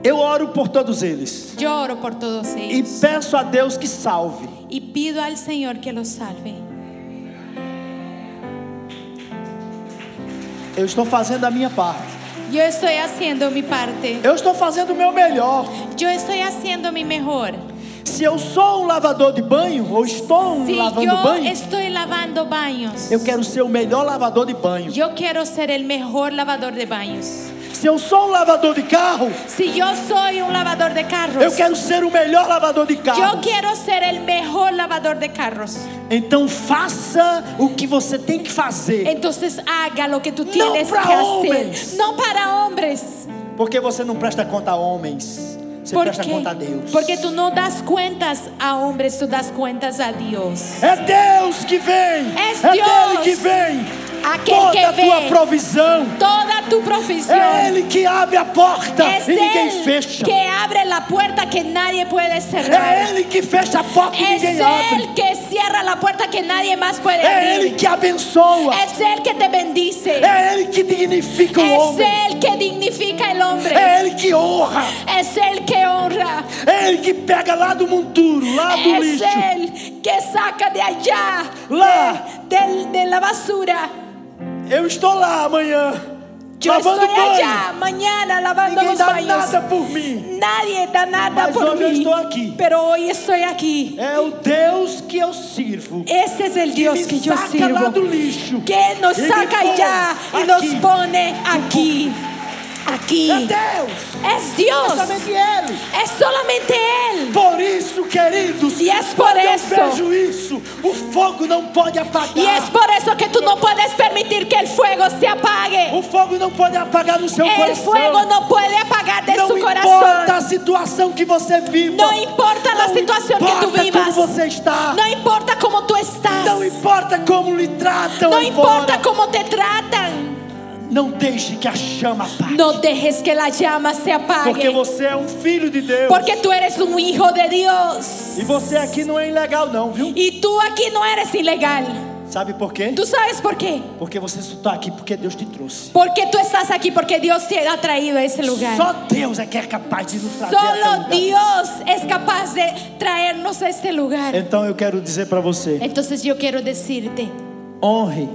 Speaker 2: Eu oro por todos eles
Speaker 3: Yo oro por todos
Speaker 2: e
Speaker 3: ellos
Speaker 2: peço a Deus que salve.
Speaker 3: y pido al Señor que los salve.
Speaker 2: Eu estou fazendo a minha parte.
Speaker 3: Yo estoy haciendo mi parte.
Speaker 2: Eu estou fazendo o meu melhor.
Speaker 3: Yo estoy haciendo mi mejor.
Speaker 2: Se eu sou um lavador de banho ou estou um
Speaker 3: Si
Speaker 2: lavando
Speaker 3: yo
Speaker 2: banho,
Speaker 3: estoy lavando baños,
Speaker 2: eu quero ser o melhor lavador de banho.
Speaker 3: yo quiero ser el mejor lavador de baños.
Speaker 2: Se eu sou um lavador de carro,
Speaker 3: Si yo soy un lavador de carros,
Speaker 2: eu quero ser o melhor lavador de
Speaker 3: Yo
Speaker 2: carro.
Speaker 3: quiero ser el mejor lavador de carros.
Speaker 2: Então faça o que você tem que fazer,
Speaker 3: Entonces haga lo que tú
Speaker 2: No
Speaker 3: tienes
Speaker 2: para
Speaker 3: que
Speaker 2: hombres.
Speaker 3: hacer. No para hombres.
Speaker 2: porque você não presta conta a homens. Você
Speaker 3: ¿Por
Speaker 2: presta
Speaker 3: qué?
Speaker 2: conta a Deus.
Speaker 3: Porque tú no das cuentas a hombres, tú das cuentas a Dios.
Speaker 2: É Deus que vem.
Speaker 3: É
Speaker 2: é Ele
Speaker 3: Deus.
Speaker 2: que vem.
Speaker 3: Aquel
Speaker 2: Toda
Speaker 3: que
Speaker 2: a tua
Speaker 3: vem.
Speaker 2: provisão.
Speaker 3: Toda tu profesión
Speaker 2: É Ele que abre a porta
Speaker 3: es
Speaker 2: e ninguém
Speaker 3: Él
Speaker 2: fecha.
Speaker 3: É que abre la puerta que nadie puede
Speaker 2: É
Speaker 3: cerrar.
Speaker 2: Ele que fecha a porta e
Speaker 3: Es
Speaker 2: ninguém abre.
Speaker 3: Él que cierra la puerta que nadie más puede
Speaker 2: É Ele
Speaker 3: abrir.
Speaker 2: que abençoa.
Speaker 3: Es Él que te bendice.
Speaker 2: É Ele que dignifica o
Speaker 3: Es
Speaker 2: homem.
Speaker 3: Él que dignifica el hombre.
Speaker 2: É Ele que honra.
Speaker 3: Es Él que honra.
Speaker 2: É Ele que pega lá do monturo, lá do
Speaker 3: Es
Speaker 2: lixo.
Speaker 3: Él que saca de allá,
Speaker 2: Lá.
Speaker 3: de, del- de la basura.
Speaker 2: Eu estou lá amanhã,
Speaker 3: Yo
Speaker 2: lavando
Speaker 3: estoy
Speaker 2: banho.
Speaker 3: allá mañana lavando
Speaker 2: Ninguém
Speaker 3: los
Speaker 2: dá
Speaker 3: baños.
Speaker 2: nada por mim.
Speaker 3: Nadie da nada
Speaker 2: Mas
Speaker 3: por
Speaker 2: hoje eu
Speaker 3: mí.
Speaker 2: estou aqui.
Speaker 3: Pero hoy estoy aquí.
Speaker 2: É o Deus que eu sirvo.
Speaker 3: Ese es el Dios
Speaker 2: que
Speaker 3: que
Speaker 2: me
Speaker 3: yo
Speaker 2: saca lá do
Speaker 3: sirvo.
Speaker 2: lixo.
Speaker 3: Que nos
Speaker 2: Ele
Speaker 3: saca
Speaker 2: põe
Speaker 3: allá y
Speaker 2: aqui.
Speaker 3: nos pone aquí. Aquí.
Speaker 2: É Deus.
Speaker 3: Es
Speaker 2: É
Speaker 3: Dios.
Speaker 2: somente Ele.
Speaker 3: Es solamente Él.
Speaker 2: Por isso, queridos,
Speaker 3: E é por
Speaker 2: quando
Speaker 3: isso. é
Speaker 2: eu vejo isso, o fogo não pode apagar.
Speaker 3: Y es por eso que tú no puedes permitir que el fuego se apague.
Speaker 2: O fogo não pode apagar no seu
Speaker 3: El
Speaker 2: coração.
Speaker 3: fuego no puede apagar de
Speaker 2: não
Speaker 3: su
Speaker 2: importa a
Speaker 3: corazón.
Speaker 2: situação que você vive.
Speaker 3: No importa la situación que tú vivas.
Speaker 2: como você está.
Speaker 3: No importa cómo tú
Speaker 2: Não
Speaker 3: estás.
Speaker 2: importa como lhe tratam
Speaker 3: No
Speaker 2: aí fora.
Speaker 3: importa cómo te tratan.
Speaker 2: Não deixe que a chama apague.
Speaker 3: No dejes que la llama se
Speaker 2: Porque
Speaker 3: apague.
Speaker 2: você é um filho de Deus.
Speaker 3: Porque tú eres un hijo de Dios.
Speaker 2: E você aqui não é ilegal não, viu?
Speaker 3: Y tú aquí no eres ilegal.
Speaker 2: Sabe por quê?
Speaker 3: ¿Tú sabes por quê?
Speaker 2: Porque você só está aqui porque Deus te trouxe.
Speaker 3: Porque tú estás aquí, porque Dios te ha traído a ese lugar.
Speaker 2: Só Deus é que é capaz de nos trazer até o
Speaker 3: Solo
Speaker 2: lugar.
Speaker 3: Dios es capaz de traernos a este lugar.
Speaker 2: Então eu quero dizer para você,
Speaker 3: Entonces yo quiero decirte,
Speaker 2: honre,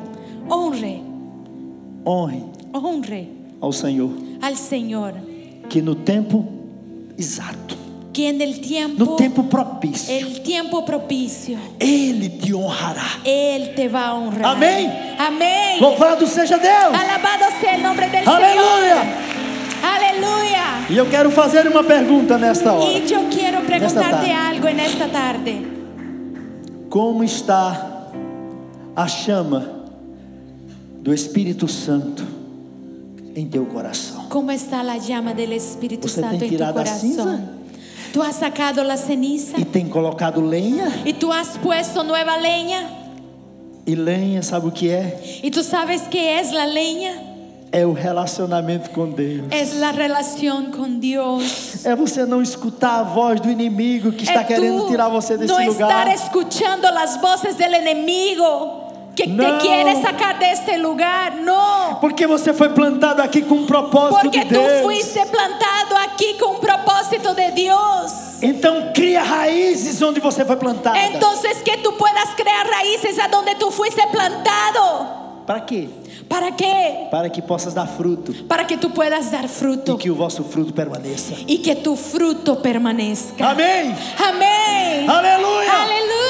Speaker 3: honre,
Speaker 2: honre
Speaker 3: honre
Speaker 2: ao Senhor
Speaker 3: al Señor.
Speaker 2: que no tempo exato,
Speaker 3: que en el tiempo,
Speaker 2: no tempo propício,
Speaker 3: el tiempo propicio,
Speaker 2: Ele te honrará.
Speaker 3: Él te va a honrar.
Speaker 2: Amén.
Speaker 3: Amén.
Speaker 2: Louvado seja Deus!
Speaker 3: Alabado sea el nombre del
Speaker 2: Aleluia!
Speaker 3: Señor. Aleluya.
Speaker 2: E eu quero fazer uma pergunta nesta hora.
Speaker 3: Y yo quiero
Speaker 2: tarde.
Speaker 3: preguntarte algo en esta tarde.
Speaker 2: Como está a chama do Espírito Santo em teu coração?
Speaker 3: ¿Cómo está la llama del Espíritu
Speaker 2: Você tem
Speaker 3: Santo en tu
Speaker 2: tirado a
Speaker 3: corazón? Tú has sacado la ceniza
Speaker 2: E tem colocado lenha?
Speaker 3: y tú has puesto nueva leña.
Speaker 2: E lenha, sabe o que é?
Speaker 3: Y tú sabes qué es la leña.
Speaker 2: É o relacionamento com Deus.
Speaker 3: Es la relación con Dios.
Speaker 2: É você não escutar a voz do inimigo que está
Speaker 3: É
Speaker 2: querendo
Speaker 3: tu
Speaker 2: tirar você desse
Speaker 3: no
Speaker 2: lugar.
Speaker 3: estar escuchando las voces del enemigo que
Speaker 2: No.
Speaker 3: te quiere sacar de este lugar, no.
Speaker 2: Porque você foi plantado aqui com um propósito
Speaker 3: Porque
Speaker 2: de
Speaker 3: tú
Speaker 2: Deus.
Speaker 3: fuiste plantado aquí con un propósito de Dios.
Speaker 2: Então cria raízes onde você foi plantado.
Speaker 3: Entonces que tú puedas crear raíces a donde tú fuiste plantado.
Speaker 2: Para quê?
Speaker 3: ¿Para qué?
Speaker 2: Para que possas dar fruto
Speaker 3: Para que tú puedas dar
Speaker 2: e
Speaker 3: fruto
Speaker 2: que o vosso fruto permaneça.
Speaker 3: y que tu fruto permanezca.
Speaker 2: Amém.
Speaker 3: Amén.
Speaker 2: Aleluya.
Speaker 3: Aleluya.